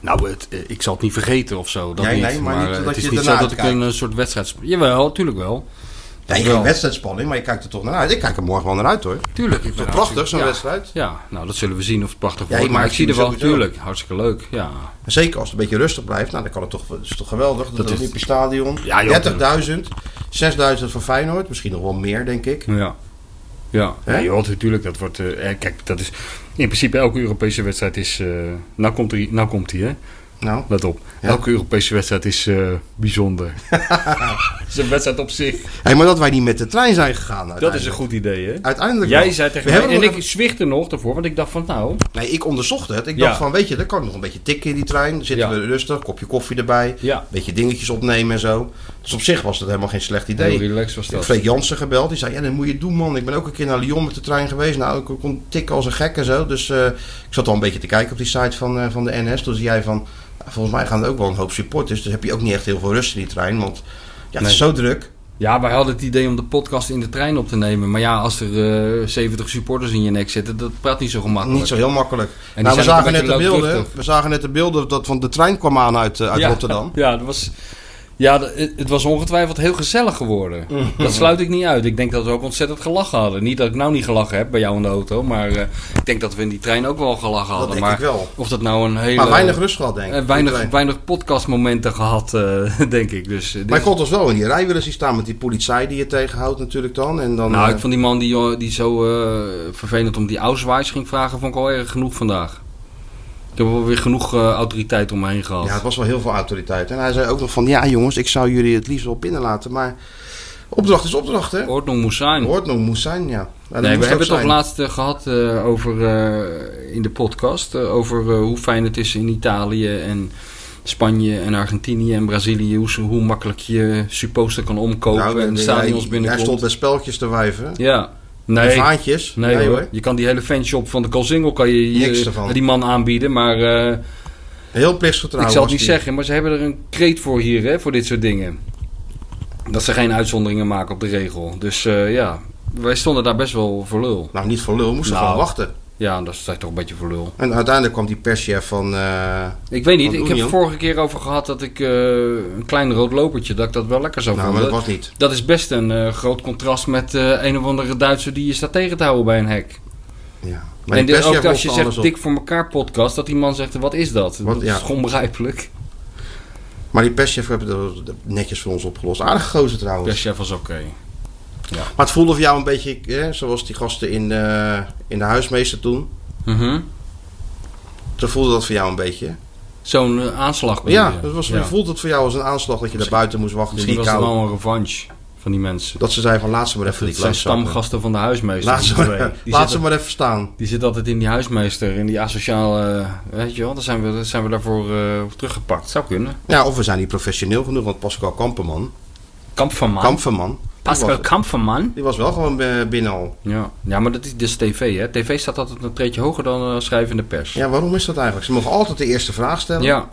Nou, het, eh, ik zal het niet vergeten of zo. Dat Nee, niet. nee, maar niet eh, dat het is je niet zo ernaar dat ik een uitkijkt. eh, soort wedstrijd. Jawel, tuurlijk wel. Nee, Wel. geen wedstrijdspanning, maar je kijkt er toch naar uit. Ik kijk er morgen wel naar uit, hoor. Tuurlijk. Ik ben Toch prachtig, zo'n hartstikke- wedstrijd? ja. ja, nou dat zullen we zien of het prachtig Ja, wordt. maar maar ik ik zie er zie wel, hem sowieso. tuurlijk. Hartstikke leuk. Ja, En zeker als het een beetje rustig blijft. Nou, dan kan het toch... Het is toch geweldig, dat, Dat is- Olympisch Stadion. Ja, joh, 30.000, 6.000 voor Feyenoord. Misschien nog wel meer, denk ik. ja. Ja, Hè? ja joh, natuurlijk. Dat wordt, eh, eh, kijk, dat is in principe elke Europese wedstrijd is. eh, nou komt hij, nou komt hij, hè? Nou, Let op. Ja. Elke Europese wedstrijd is eh, bijzonder. is een wedstrijd op zich. Hé, maar dat wij niet met de trein zijn gegaan. Dat is uiteindelijk. een goed idee, hè? Uiteindelijk Jij wel. zei tegen We mij, hebben en nog ik zwichtte nog daarvoor, want ik dacht van nou... Nee, ik onderzocht het. Ik dacht Ja. van, weet je, dan kan ik nog een beetje tikken in die trein. Dan zitten Ja. we rustig, kopje koffie erbij. Ja. Beetje dingetjes opnemen en zo. Dus op zich was dat helemaal geen slecht Heel idee. relaxed was Ik heb dat. Freek Jansen gebeld. Die zei, ja, dat moet je doen, man. Ik ben ook een keer naar Lyon met de trein geweest. Nou, ik kon tikken als een gek en zo. Dus eh, ik zat al een beetje te kijken op die site van, eh, van de NS. Toen zei jij van, nou, volgens mij gaan er ook wel een hoop supporters. Dus heb je ook niet echt heel veel rust in die trein. Want ja, het is zo druk. Ja, wij hadden het idee om de podcast in de trein op te nemen. Maar ja, als er eh, 70 supporters in je nek zitten, dat praat niet zo gemakkelijk. Niet zo heel makkelijk. die Nou, we zijn ook zagen, een net de beetje beelden, luidruchtig. we zagen net de beelden dat, want de trein kwam aan uit, eh, uit ja, Rotterdam. Ja, dat was, ja dat- het het was ongetwijfeld heel gezellig geworden. Mm. Dat sluit ik niet uit. Ik denk dat we ook ontzettend gelachen hadden. Niet dat ik nou niet gelachen heb bij jou in de auto, maar eh, ik denk dat we in die trein ook wel gelachen Dat hadden. denk maar ik wel. of dat nou een hele... Maar weinig rust gehad, denk ik. eh, Die weinig, trein. weinig podcastmomenten gehad, eh, denk ik. Dus, eh, dit Maar is- ik kon ons wel in die rij willen zien staan met die politie die je tegenhoudt natuurlijk dan. En dan Nou, eh, ik vond die man die, eh, die zo eh, vervelend om die Ausweis ging vragen, vond ik al erg genoeg vandaag. Ik heb wel weer genoeg eh, autoriteit om me heen gehad. ja, het was wel heel veel autoriteit. En hij zei ook nog van, ja jongens, ik zou jullie het liefst wel binnenlaten. Maar opdracht is opdracht, hè. Ordnung moest zijn. Hoort nog, moest zijn, ja. Nou, dat Oh, nee, we moest ook hebben het toch zijn. laatst eh, gehad eh, over, eh, in de podcast eh, over eh, hoe fijn het is in Italië en Spanje en Argentinië en Brazilië. Hoe, ze- hoe makkelijk je supposter kan omkopen Nou, en de jij- stadions Jij binnenkomt. stond met speltjes te wijven. Ja, Nee. nee. Vaantjes. Nee, hoor. je kan die hele fanshop van de Kalsingel kan je, je- Niks ervan. die man aanbieden, maar eh, Heel plichtsgetrouw Ik zal Nou, was het niet die. zeggen, maar ze hebben er een kreet voor hier, hè, voor dit soort dingen. Dat ze geen uitzonderingen maken op de regel. Dus eh, ja, wij stonden daar best wel voor lul. Nou, niet voor lul, we moesten Nou. gewoon wachten. Ja, dat is toch een beetje voor lul. En uiteindelijk kwam die perschef van... eh, Ik weet niet, Wat ik doe heb je? het vorige keer over gehad dat ik eh, een klein rood lopertje, dat ik dat wel lekker zou nou, maar dat vinden. was niet. Dat is best een eh, groot contrast met eh, een of andere Duitser die je staat tegen te houden bij een hek. Ja. Maar en die dit- perschef ook als je loste alles zegt op. dik voor elkaar podcast, dat die man zegt, wat is dat? Wat, dat ja. is toch onbegrijpelijk. Maar die perschef hebben dat netjes voor ons opgelost. Aardig gozer trouwens. Ja, chef was oké. Maar het voelde voor jou een beetje hè, zoals die gasten in de, in de huismeester toen. Mhm. Zo voelde dat voor jou een beetje. Zo'n eh, aanslag. bedoel Ja, je? dat was, Ja. voelde het voor jou als een aanslag dat je daar buiten moest wachten in Misschien die was het kou. wel een revanche van die mensen. Dat ze zeiden van laat ze maar even Dat die zijn klootzak. stamgasten van de huismeester. Laat, ze die twee. maar, Die laat ze zitten- maar even staan. Die zit altijd in die huismeester, in die asociale... eh, Weet je wel, daar zijn we, daar zijn we daarvoor eh, teruggepakt. Zou kunnen. Ja, of we zijn niet professioneel genoeg, want Pascal Kamperman, Kampferman. Kamperman, die Pascal was, Kampferman. die was wel gewoon eh, binnen al. Ja. ja, maar dat is, dit is tv, hè. TV staat altijd een treetje hoger dan eh, schrijvende pers. Ja, waarom is dat eigenlijk? Ze mogen altijd de eerste vraag stellen. Ja.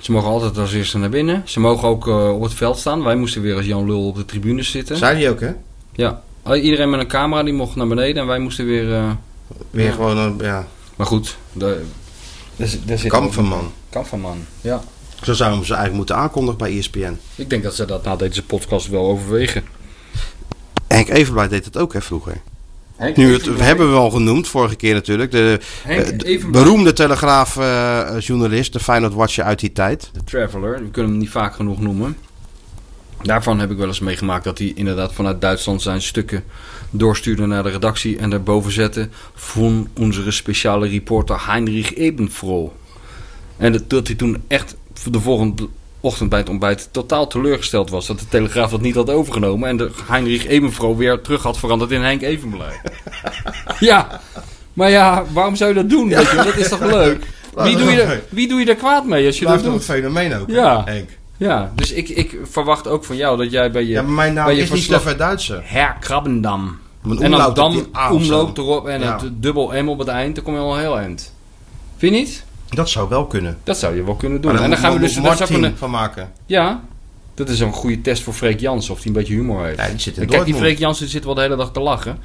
Ze mogen altijd als eerste naar binnen. Ze mogen ook eh, op het veld staan. Wij moesten weer als Jan Lul op de tribunes zitten. Zei die ook, hè? Ja. Iedereen met een camera, die mocht naar beneden. En wij moesten weer... eh, Weer Ja. gewoon, een- ja, Maar goed, daar, daar, zit- daar zit Kamperman. Kamperman, ja. Zo zouden we ze eigenlijk moeten aankondigen bij E ESPN. Ik denk dat ze dat na deze podcast wel overwegen. Henk Evenblij deed het ook, hè, vroeger. Henk Nu, het we hebben we al genoemd, vorige keer natuurlijk. De, Henk eh, de Evenblij. beroemde Telegraaf-journalist, de Feyenoord Watcher uit die tijd. De Traveler, we kunnen hem niet vaak genoeg noemen. Daarvan heb ik wel eens meegemaakt dat hij inderdaad vanuit Duitsland zijn stukken doorstuurde naar de redactie en daarboven zette van onze speciale reporter Heinrich Ebenfroh. En dat, dat hij toen echt de volgende ochtend bij het ontbijt totaal teleurgesteld was dat de Telegraaf dat niet had overgenomen en de Heinrich Ebenfroh weer terug had veranderd in Henk Evenblij. ja, maar ja, waarom zou je dat doen? Weet je? wel? Dat is toch leuk? Wie doe, je er, wie doe je er kwaad mee als je dat doet? fenomeen ook, hè, Ja. Henk. Ja, Ja, dus ik, ik verwacht ook van jou dat jij bij je... maar mijn naam bij je is niet verslag- Stefan Duitser. Herr Krabbendam. Mijn En dan omlaut op dam, die A of zo. omloop erop en Ja. het dubbel M op het eind. Dan kom je al heel eind. Vind je niet? Dat zou wel kunnen. Dat zou je wel kunnen doen. Maar en dan moet- gaan we moet dus... dat zou Martin kunnen- van maken. ja, dat is een goede test voor Freek Jansen. Of hij een beetje humor heeft. Ja, die zit in en kijk, die Dortmund. Freek Jansen zit wel de hele dag te lachen.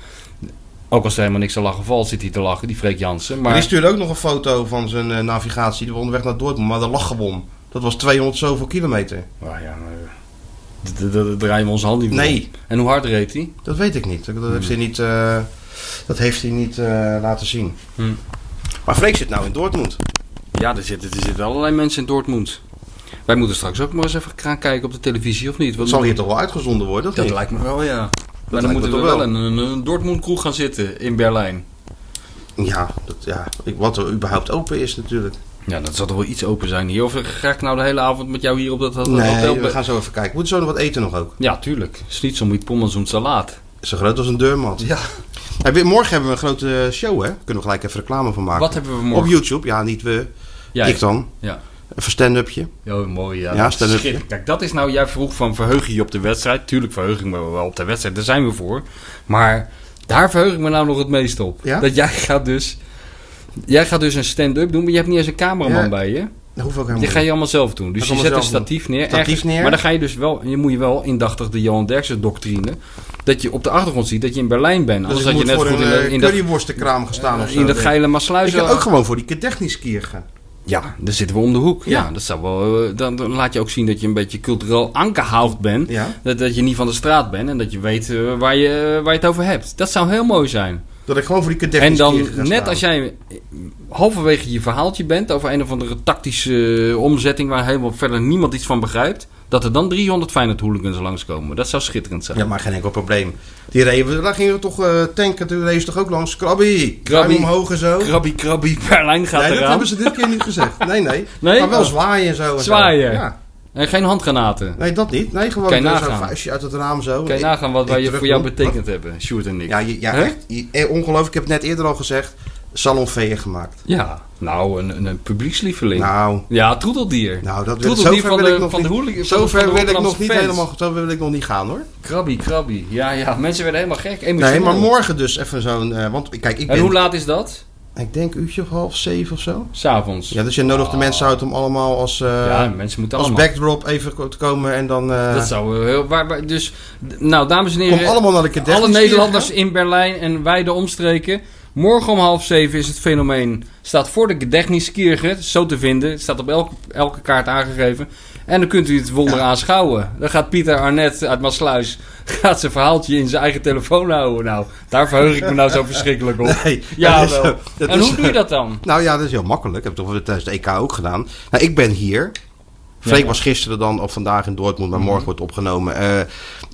Ook als er helemaal niks te lachen valt, zit hij te lachen, die Freek Jansen. Maar die Maar stuurde ook nog een foto van zijn eh, navigatie. Die was onderweg naar Dortmund, maar de lachgebom. Dat was 200 zoveel kilometer. Nou ja, maar, eh, d- d- d- daar draaien we ons hand niet voor. Nee. En hoe hard reed hij? Dat weet ik niet. Dat dat Hmm. heeft hij niet, eh, dat heeft hij niet eh, laten zien. Hmm. Maar Freek zit nou in Dortmund. Ja, er zitten, er zitten allerlei mensen in Dortmund. Wij moeten straks ook maar eens even gaan kijken op de televisie, of niet? Dat Want zal hier toch wel uitgezonden worden? of dat niet? lijkt me wel, ja. maar lijkt me dan moeten we toch wel, wel. in een, een Dortmund-kroeg gaan zitten in Berlijn. Ja, dat, ja ik- wat er überhaupt open is natuurlijk. Ja, dat zal toch wel iets open zijn hier. Of ga ik nou de hele avond met jou hier op dat, dat hotel? Nee, we gaan zo even kijken. Moeten zo nog wat eten nog ook? Ja, tuurlijk. Schnitzel met pommes en salaat. Zo groot als een deurmat. Ja. Hey, we- morgen hebben we een grote show, hè? Kunnen we gelijk even reclame van maken. Wat hebben we morgen? Op YouTube. Ja, niet we. Jij. Ik dan. Ja. Even stand-upje. Oh, mooi. Ja, Ja, Dat is stel het- schitterend. Kijk, dat is nou, jij vroeg van verheug je je op de wedstrijd. Tuurlijk verheug ik me wel op de wedstrijd, daar zijn we voor. Maar daar verheug ik me nou nog het meest op. Ja? Dat jij gaat dus, jij gaat dus een stand-up doen, maar je hebt niet eens een cameraman Ja. bij je. Dat hoeft ook helemaal Die ga niet. je allemaal zelf doen. Dus Dat je allemaal zet een zelf doen. statief neer. Statief ergens- neer. Maar dan ga je dus wel, je moet je wel indachtig de Johan Derksen doctrine, dat je op de achtergrond ziet dat je in Berlijn bent. Dus Anders ik had je moet net voor goed in, een de- eh, in dat, curryworstenkraam gestaan of zo. in dat geile Ik Maasluis. kan ook gewoon voor die technisch kier gaan. Ja, dan zitten we om de hoek. Ja, Ja. dat zou wel, eh, dan, dan laat je ook zien dat je een beetje cultureel ankerhoud bent. Ja. Dat, dat je niet van de straat bent en dat je weet eh, waar, je, waar je het over hebt. Dat zou heel mooi zijn. Dat ik gewoon voor die kadetjes En dan, kier ga net staan. als jij eh, halverwege je verhaaltje bent over een of andere tactische eh, omzetting waar helemaal verder niemand iets van begrijpt, dat er dan 300 Feyenoord hooligans langskomen. Dat zou schitterend zijn. Ja, maar geen enkel probleem. Die reden, we- daar gingen we toch eh, tanken, toen reden ze toch ook langs. Krabby, Krabby. krabby omhoog en zo. Krabbie, krabbie, Berlijn gaat nee, dat eraan. hebben ze dit keer niet gezegd. Nee, nee. Nee? Maar wel Oh. zwaaien en zo. en zo. Zwaaien. Ja. En geen handgranaten. Nee, dat niet. Nee, gewoon eh, Kan je zo'n nagaan. vuistje uit het raam zo. Kan je nagaan wat Ik wij je- terug voor jou moet. betekend hebben, Sjoerd en ik. Ja, je- ja Hè? echt. Je- eh, ongelooflijk. Ik heb het net eerder al gezegd. Salonveeën gemaakt. Ja, nou, een, een, een publiekslieveling. Nou, Ja, troeteldier. nou dat wil, troeteldier zover van wil de, ik nog van de niet. hooli- van de- van zover de wil ik nog Rotterdamse niet fans. helemaal. Zo wil ik nog niet gaan hoor. Krabbie, krabbie. Ja, ja, mensen werden helemaal gek. Nee, emotioneel. maar morgen dus even zo'n. eh, want kijk, ik En hoe ben. laat is dat? Ik denk uurtje of half zeven of zo. S'avonds. Ja, dus je nodigt de mensen uit om allemaal als, eh, Ah. Ja, mensen moeten als allemaal. backdrop even ko- te komen en dan. eh, Dat zou eh, heel... Waar, waar- dus, d- nou, dames en heren. Kom allemaal naar de alle Cadets. Dus Nederlanders in Berlijn en wijde omstreken. Morgen om half zeven is het fenomeen... staat voor de Gedechniskierge, zo te vinden. Het staat op elke, elke kaart aangegeven. En dan kunt u het wonder aanschouwen. Dan gaat Pieter Arnett uit Maasluis... gaat zijn verhaaltje in zijn eigen telefoon houden. Nou, daar verheug ik me nou zo verschrikkelijk op. Nee, ja, dat is- wel. dat En is- hoe doe je dat dan? Nou ja, dat is heel makkelijk. Dat heb ik toch tijdens de EK ook gedaan. Nou, ik ben hier. Freek Ja. Mhm. was gisteren dan of vandaag in Dortmund, maar morgen wordt opgenomen. Eh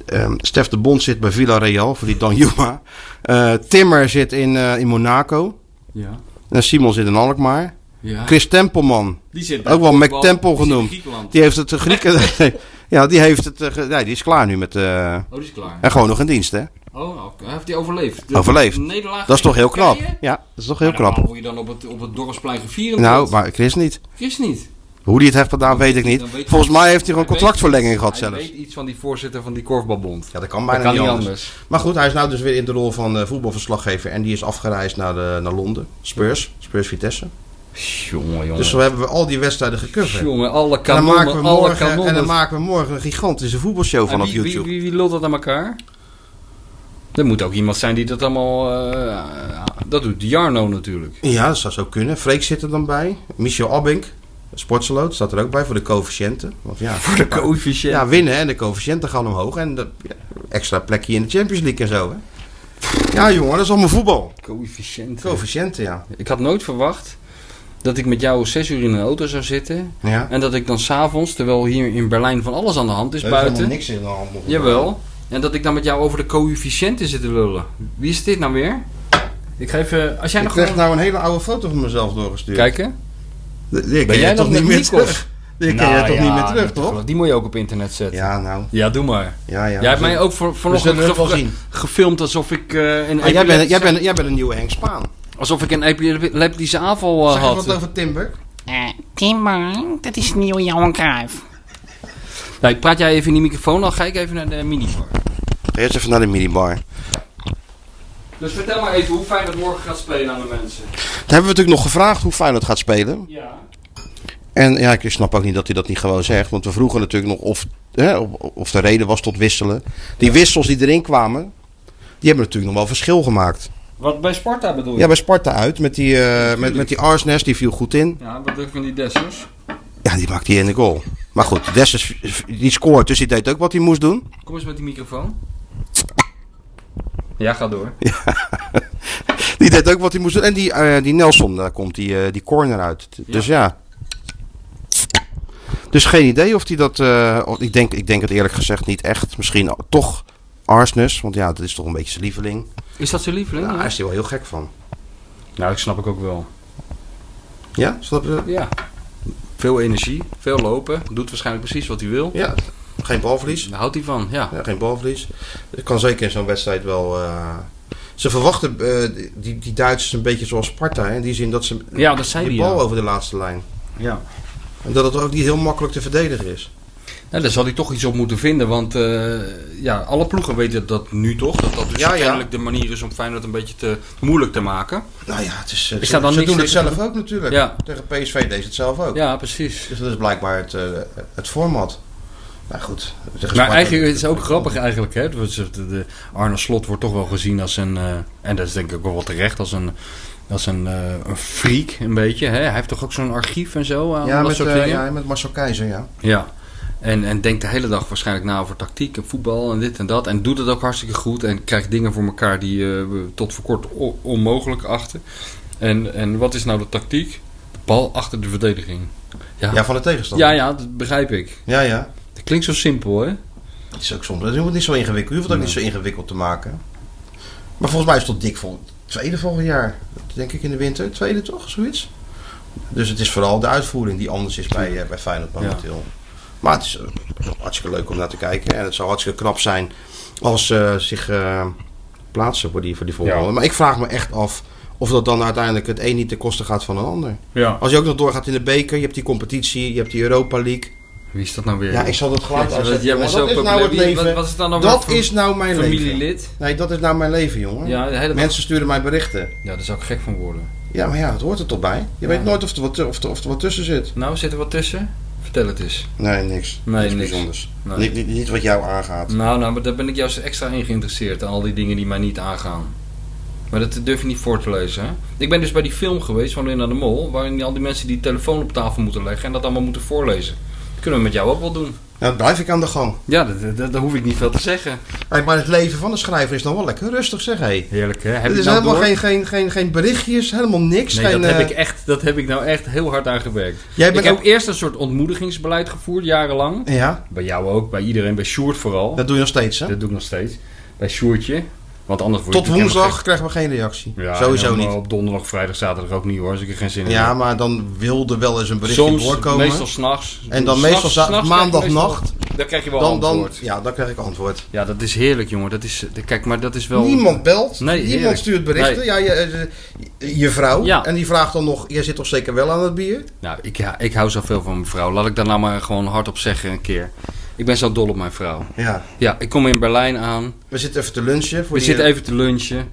ehm, Stef de Bond zit bij Villarreal voor die Dan Juma. Eh, Timmer zit in, eh, in Monaco. Ja. En Simon zit in Alkmaar. ja. Chris Tempelman, Die zit ook wel voetbal. McTempel Die zit in genoemd. Griekenland. Oh, die heeft het eh, Grieken. ja, die heeft het. eh, ge- nee, die is klaar nu met. eh, Oh, die is klaar. en gewoon nog in dienst, hè? Oh, nou, hij heeft hij overleefd? Overleefd. Nederlaag Dat is toch heel knap? Turkije? Ja, dat is toch heel Maar normaal knap. word je dan op het, op het dorpsplein gevierd. Nou, maar Chris niet. Chris niet. Hoe die het heeft gedaan, weet ik niet. Dan weet- Volgens mij heeft hij gewoon Hij weet- contractverlenging gehad Hij zelfs. weet iets van die voorzitter van die korfbalbond. Ja, dat kan Dat bijna kan niet niet anders. anders. Maar goed, hij is nou dus weer in de rol van eh, voetbalverslaggever. En die is afgereisd naar, eh, naar Londen. Spurs. Spurs Vitesse. Jongen, jongen. Dus zo hebben we al die wedstrijden gecoverd. jongen, alle en, dan kanonnen, maken we alle morgen, kanonnen. en dan maken we morgen een gigantische voetbalshow van En op wie, YouTube. Wie, wie, wie lult dat aan elkaar? Er moet ook iemand zijn die dat allemaal... eh, dat doet Jarno natuurlijk. Ja, dat zou zo kunnen. Freek zit er dan bij. Michel Abink, sportsaloot, staat er ook bij voor de coëfficiënten. Want ja, Voor de coëfficiënt. ja, winnen en de coëfficiënten gaan omhoog. En de, ja, extra plekje in de Champions League en zo. Hè. Ja jongen, dat is allemaal voetbal. Coëfficiënt. Coëfficiënten, ja. Ik had nooit verwacht dat ik met jou zes uur in een auto zou zitten. ja. En dat ik dan s'avonds, terwijl hier in Berlijn van alles aan de hand is, Er is helemaal buiten... niks in de hand. nog. Jawel. En dat ik dan met jou over de coëfficiënten zit te lullen. Wie is dit nou weer? Ik geef even... Als jij Ik nou- kreeg nog... gewoon- nou een hele oude foto van mezelf doorgestuurd. Kijken. Die- Die Ben ken jij je nog toch niet met meer Nikos? terug? Die ken je Nou toch ja, niet meer terug, te toch? geloven. Die moet je ook op internet zetten. Ja, nou. Ja, doe maar. Ja, ja. jij hebt we mij zullen- ook voor, we zullen vanochtend het wel ge- zien. gefilmd alsof ik eh, een Ah, jij, bent, jij, epileptische- bent, jij bent een nieuwe Henk Spaan. alsof ik een epileptische aanval eh, Zeg je had. wat over Timber? Eh, Timmer, dat is nieuw Johan Cruijff. Nee, praat jij even in die microfoon, dan ga ik even naar de minibar. Eerst even naar de minibar. Dus vertel maar even hoe fijn het morgen gaat spelen aan de mensen. Dat hebben we natuurlijk nog gevraagd hoe Feyenoord gaat spelen. Ja. En ja, ik snap ook niet dat hij dat niet gewoon zegt. Want we vroegen natuurlijk nog of, hè, of, of de reden was tot wisselen. Die wissels die erin kwamen, die hebben natuurlijk nog wel verschil gemaakt. Wat bij Sparta bedoel je? Ja, bij Sparta uit. Met die, eh, met, met die Arsnes, die viel goed in. Ja, wat druk van die Dessers? Ja, die maakt die in de goal. Maar goed, Dessers die scoort, dus die deed ook wat hij moest doen. Kom eens met die microfoon. Ja, ga door. Die deed ook wat hij moest doen. En die, eh, die Nelson, daar komt die, eh, die corner uit. T- Dus ja. Dus geen idee of die dat... eh, of- ik, denk, ik denk het eerlijk gezegd niet echt. Misschien toch Arsnes, want ja, dat is toch een beetje zijn lieveling. Is dat zijn lieveling? Nou, ja? hij is er wel heel gek van. Nou, dat snap ik ook wel. Ja, snap je dat? Ja. Veel energie, veel lopen. Doet waarschijnlijk precies wat hij wil. Ja, geen balverlies. Daar houdt hij van, ja. Ja, geen balverlies. Het kan zeker in zo'n wedstrijd wel... eh, ze verwachten eh, die, die Duitsers een beetje zoals Sparta. Hè? In die zin dat ze Ja, dat zei die hij, bal ja. over de laatste lijn. ja. En dat het ook niet heel makkelijk te verdedigen is. Nou, daar zal hij toch iets op moeten vinden. Want eh, ja, alle ploegen weten dat nu toch. Dat dat dus Ja, ja. uiteindelijk de manier is om Feyenoord een beetje te moeilijk te maken. Nou ja, het is, eh, Is ze, dat dan ze niks doen het tegen- zelf ook natuurlijk. Ja. Tegen PSV deed ze het zelf ook. Ja, precies. Dus dat is blijkbaar het, eh, het format. Nou goed. tegen Maar Sparta- eigenlijk is het ook grappig eigenlijk. Hè? Dat we zeggen, De, de Arne Slot wordt toch wel gezien als een... eh, en dat is denk ik ook wel terecht. Als een, als een, eh, een freak een beetje. Hè? Hij heeft toch ook zo'n archief en zo. aan Ja, dat met, soort eh, dingen? ja, met Marcel Keizer, ja. Ja. En, en denkt de hele dag waarschijnlijk na over tactiek en voetbal en dit en dat. En doet het ook hartstikke goed. En krijgt dingen voor elkaar die eh, we tot voor kort o- onmogelijk achten. En, en wat is nou de tactiek? De bal achter de verdediging. Ja, Ja, ja, van de tegenstander. ja, dat begrijp ik. ja. ja. Dat klinkt zo simpel, hè? Het is ook soms. Het hoeft niet zo ingewikkeld. Je hoeft het ook niet zo ingewikkeld te maken. Maar volgens mij is het tot dik vol, tweede volgend jaar. Dat Denk ik in de winter. Tweede toch? Zoiets. Dus het is vooral de uitvoering die anders is bij, eh, bij Feyenoord momenteel. Maar het is eh, hartstikke leuk om naar te kijken. En het zou hartstikke knap zijn als ze zich eh, plaatsen voor die, voor die volgende. Ja. Maar ik vraag me echt af of dat dan uiteindelijk het een niet ten koste gaat van een ander. Ja. Als je ook nog doorgaat in de beker, je hebt die competitie, je hebt die Europa League. Wie is dat nou weer? Ja, ik zal dat geluid Ja, uitzetten. jij jongen. bent dat zo is nou populair. het Wie- leven. wat- wat is het dan nou dat voor is nou mijn leven. Familielid? Nee, dat is nou mijn leven, jongen. Ja, de hele dag- Mensen sturen mij berichten. Ja, daar zou ik gek van worden. Ja, maar ja, het hoort er toch bij. Je weet nooit of er, wat, of, er, of er wat tussen zit. Nou, zit er wat tussen? Vertel het eens. Nou, Nee, niks. Nee, niks, niks. bijzonders. Nee. Niet, niet, niet wat jou aangaat. Nou, nou, maar daar ben ik juist extra in geïnteresseerd. Aan al die dingen die mij niet aangaan. Maar dat durf je niet voor te lezen, hè? Ik ben dus bij die film geweest van Linda de Mol... waarin al die mensen die telefoon op tafel moeten leggen... en dat allemaal moeten voorlezen. Dat kunnen we met jou ook wel doen. Nou, dan blijf ik aan de gang. Ja, dat, dat, daar hoef ik niet veel te zeggen. Hey, maar het leven van de schrijver is dan wel lekker rustig, zeg hé. Heerlijk, hè? Heb Het je is nou helemaal door? geen, geen, geen, geen berichtjes, helemaal niks. Nee, geen, dat heb, eh, ik echt, dat heb ik nou echt heel hard aan gewerkt. Jij bent ik heb ook- eerst een soort ontmoedigingsbeleid gevoerd, jarenlang. Ja, Bij jou ook, bij iedereen, bij Sjoerd vooral. dat doe je nog steeds, hè? Dat doe ik nog steeds. Bij Sjoerdje. Want anders word je Tot natuurlijk helemaal woensdag krijgen we geen reactie. Ja, Sowieso en dan eh, niet. Op donderdag, vrijdag, zaterdag ook niet hoor, als ik er geen zin in Ja, heb. maar dan wilde wel eens een berichtje doorkomen. meestal s'nachts. En dan meestal za- maandagnacht. Dan krijg je wel dan, dan, antwoord. Ja. ja, dan krijg ik antwoord. dat is heerlijk jongen. Dat is, de- kijk, maar dat is wel... Niemand belt, Nee, niemand heerlijk. stuurt berichten. Nee. Ja, je, eh, je, je vrouw, Ja. en die vraagt dan nog, jij zit toch zeker wel aan het bier? Nou, ik, ja, ik hou zoveel van mijn vrouw. Laat ik daar nou maar gewoon hardop zeggen een keer. Ik ben zo dol op mijn vrouw. Ja. Ja, ik kom in Berlijn aan. We zitten even te lunchen. Voor We die- zitten even te lunchen.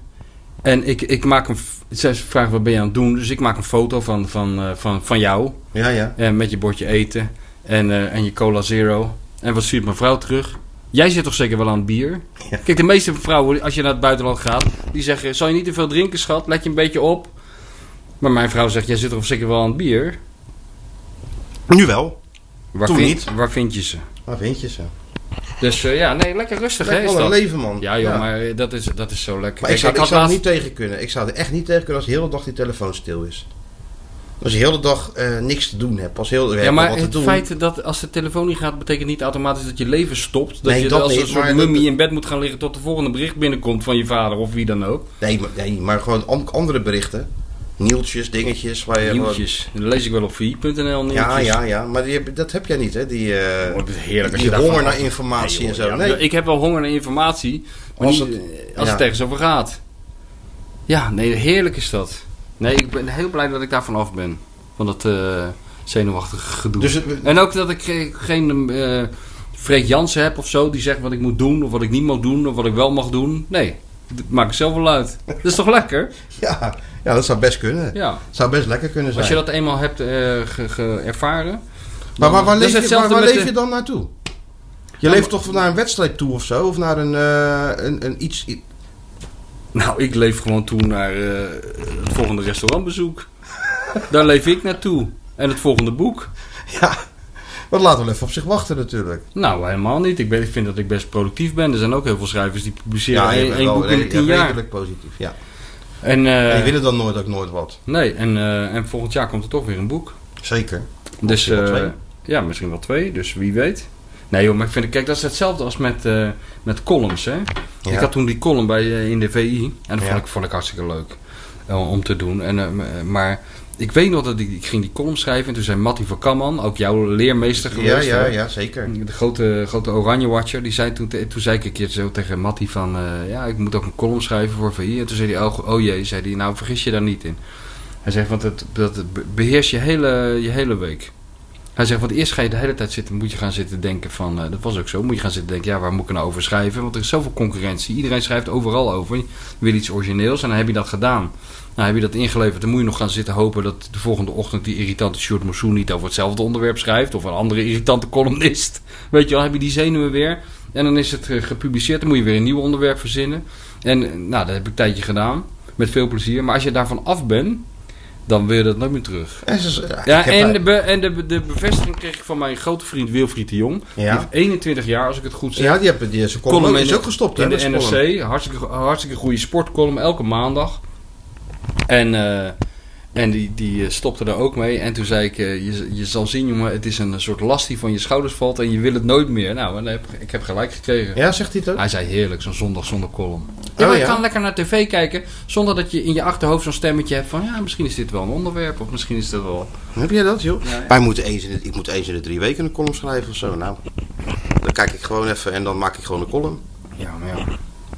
En ik, ik maak een... f- Zij vraagt, wat ben je aan het doen? Dus ik maak een foto van, van, eh, van, van jou. Ja, ja. En Eh, met je bordje eten. En, eh, en je cola zero. En wat stuurt mijn vrouw terug? Jij zit toch zeker wel aan het bier? Ja. Kijk, de meeste vrouwen, als je naar het buitenland gaat, die zeggen: Zal je niet te veel drinken, schat? Let je een beetje op. Maar mijn vrouw zegt: Jij zit toch zeker wel aan het bier? Nu wel. Waar Toen vind, niet. Waar vind je ze? Maar vind je ze? Dus eh, ja, nee, lekker rustig, hè? Ah, Lekker is wel een dat? leven, man. Ja, joh, maar eh, dat is, dat is zo lekker. Maar ik Kijk, zou, ik had zou er laatst- niet tegen kunnen. Ik zou er echt niet tegen kunnen als de hele dag die telefoon stil is. Als je de hele dag eh, niks te doen hebt. Als heel, Ja, maar wat te het doen. feit dat als de telefoon niet gaat, betekent niet automatisch dat je leven stopt. Dat Nee, je dat als een niet, maar soort dat- mummie in bed moet gaan liggen tot de volgende bericht binnenkomt van je vader of wie dan ook. Nee, maar, nee, maar gewoon an- andere berichten. Nieltjes, dingetjes. Waar je gewoon- Nieuwtjes. Dat lees ik wel op vi.nl nieuwtjes. Ja, ja, ja. Maar die heb- dat heb jij niet, hè? Die, eh, Oh, dat is heerlijk als die je daarvan honger naar af- informatie en zo. Ja, Nee, Ik heb wel honger naar informatie. Maar Als niet, eh, het- als het, ja. ergens over gaat. Ja, nee, heerlijk is dat. Nee, ik ben heel blij dat ik daarvan af ben. Van dat eh, zenuwachtige gedoe. Dus het- en ook dat ik ge- geen eh Freek Jansen heb of zo. Die zegt wat ik moet doen of wat ik niet mag doen of wat ik wel mag doen. Nee, dat maak ik zelf wel uit. Dat is toch lekker? ja, ja, dat zou best kunnen. Ja. Zou best lekker kunnen zijn. Als je dat eenmaal hebt eh, ge- ge- ervaren. maar waar, waar Dat is leef, je, waar, hetzelfde waar met leef de- je Nou, dan naartoe? Je leeft toch naar een wedstrijd toe of zo? Of naar een, eh, een, een iets... i- Nou, ik leef gewoon toe naar eh, het volgende restaurantbezoek. Daar leef ik naartoe. En het volgende boek. Ja, dat laat wel even op zich wachten natuurlijk. Nou, helemaal niet. Ik, ben, ik vind dat ik best productief ben. Er zijn ook heel veel schrijvers die publiceren je één, bent één wel boek in de redelijk- tien jaar. redelijk positief, ja. En, eh, en die willen dan nooit ook nooit wat. nee, en, eh, en volgend jaar komt er toch weer een boek. Zeker. Dus, wel eh, twee. ja, misschien wel twee. Dus wie weet. Nee joh, maar ik vind, kijk, dat is hetzelfde als met, eh, met columns, hè. Ja. Ik had toen die column bij, eh, in de VI. En dat Ja. vond, ik, vond ik hartstikke leuk eh, om te doen. En, eh, m- eh, maar Ik weet nog dat ik, ik ging die column schrijven. En toen zei Mattie van Kamman, ook jouw leermeester Ja, geweest. ja, hè? Mm. ja, zeker. De grote, grote Oranje Watcher, die zei toen, te- toen zei ik een keer zo tegen Matty van, eh, ja, ik moet ook een column schrijven voor VI. En toen zei hij, oh, go- oh jee, zei hij, nou vergis je daar niet in. Hij zegt, want het, dat be- beheerst je hele, je hele week. Hij zegt, want eerst ga je de hele tijd zitten, moet je gaan zitten denken van, eh, dat was ook zo, moet je gaan zitten denken, ja, waar moet ik nou over schrijven? Want er is zoveel concurrentie, iedereen schrijft overal over, je wil iets origineels en dan heb je dat gedaan. Nou, heb je dat ingeleverd, dan moet je nog gaan zitten hopen dat de volgende ochtend die irritante Sjoerd Mossoen niet over hetzelfde onderwerp schrijft. Of een andere irritante columnist. Weet je wel, heb je die zenuwen weer. En dan is het eh, gepubliceerd, dan moet je weer een nieuw onderwerp verzinnen. En eh, nou, dat heb ik een tijdje gedaan, met veel plezier. Maar als je daarvan af bent, dan wil je dat nooit meer terug. En ze, ja, Ja, ik heb en, daar- de, be- en de, de bevestiging kreeg ik van mijn grote vriend Wilfried de Jong. Die Ja. heeft 21 jaar, als ik het goed zeg. ja, die hebben die, ze Column column ook- in is de- ook gestopt, hè? In de met zijn column. NRC, hartstikke, go- hartstikke goede sportcolumn, elke maandag. En, eh, en die, die eh, stopte er ook mee. En toen zei ik, eh, je, je zal zien jongen, het is een soort last die van je schouders valt en je wil het nooit meer. Nou, en heb, ik heb gelijk gekregen. Ja, zegt hij het ook? Hij zei heerlijk, zo'n zondag zonder column. Ja, Oh, maar je ja? kan lekker naar tv kijken zonder dat je in je achterhoofd zo'n stemmetje hebt van... ja, misschien is dit wel een onderwerp of misschien is dat wel... Heb jij dat, joh? ja. Wij moeten eens in de, ik moet eens in de drie weken een column schrijven of zo. Nou, dan kijk ik gewoon even en dan maak ik gewoon een column. Ja, maar ja.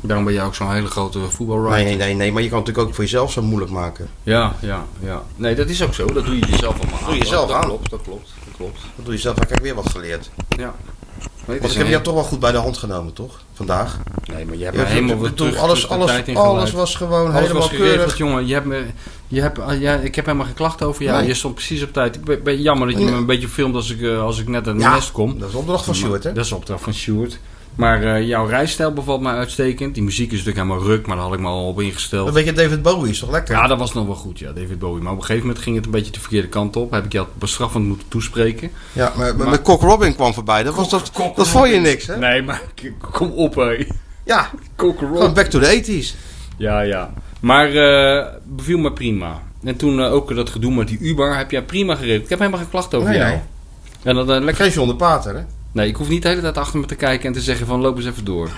Daarom ben jij ook zo'n hele grote voetbalwriter. Nee, nee, nee, nee, maar je kan het natuurlijk ook voor jezelf zo moeilijk maken. Ja, ja, ja. Nee, dat is ook zo. Dat doe je jezelf allemaal aan. Doe je jezelf dat aan. Klopt, dat klopt, dat klopt. Dat doe je zelf, heb ik weer wat geleerd. Ja. Nee, het Want is ik heb een- jou toch wel goed bij de hand genomen, toch? Vandaag. Nee, maar je hebt Ja, me helemaal ik weer bedoel, terug, alles, terug de tijd alles, ingeleid. alles was gewoon Alles helemaal was keurig. geregeld, jongen. Je hebt me, je hebt, ah, ja, ik heb helemaal geen klachten over jou. Nee. Je stond precies op tijd. Ik ben, ben jammer dat je Nee. me een beetje filmt als ik, eh, als ik net aan de Ja, nest kom. dat is opdracht van Stuart, hè? Dat is opdracht van Stuart. Maar eh, jouw rijstijl bevalt mij uitstekend. Die muziek is natuurlijk helemaal ruk, maar daar had ik me al op ingesteld. Een beetje David Bowie is toch lekker? Ja, dat was nog wel goed, ja, David Bowie. Maar op een gegeven moment ging het een beetje de verkeerde kant op. Heb ik jou bestraffend moeten toespreken. Ja, maar, maar, Maar met Cock Robin kwam voorbij. Dat, was, dat, dat vond je niks, hè? Nee, maar k- kom op, hé. ja, Cockroach. gewoon back to the 80s. Ja, ja. Maar eh, beviel me prima. En toen eh, ook dat gedoe met die Uber heb jij prima geregeld. Ik heb helemaal geen klachten over Nee, jou. nee. En dan, eh, lekker... Geen John de Pater, hè? Nee, ik hoef niet de hele tijd achter me te kijken en te zeggen van loop eens even door.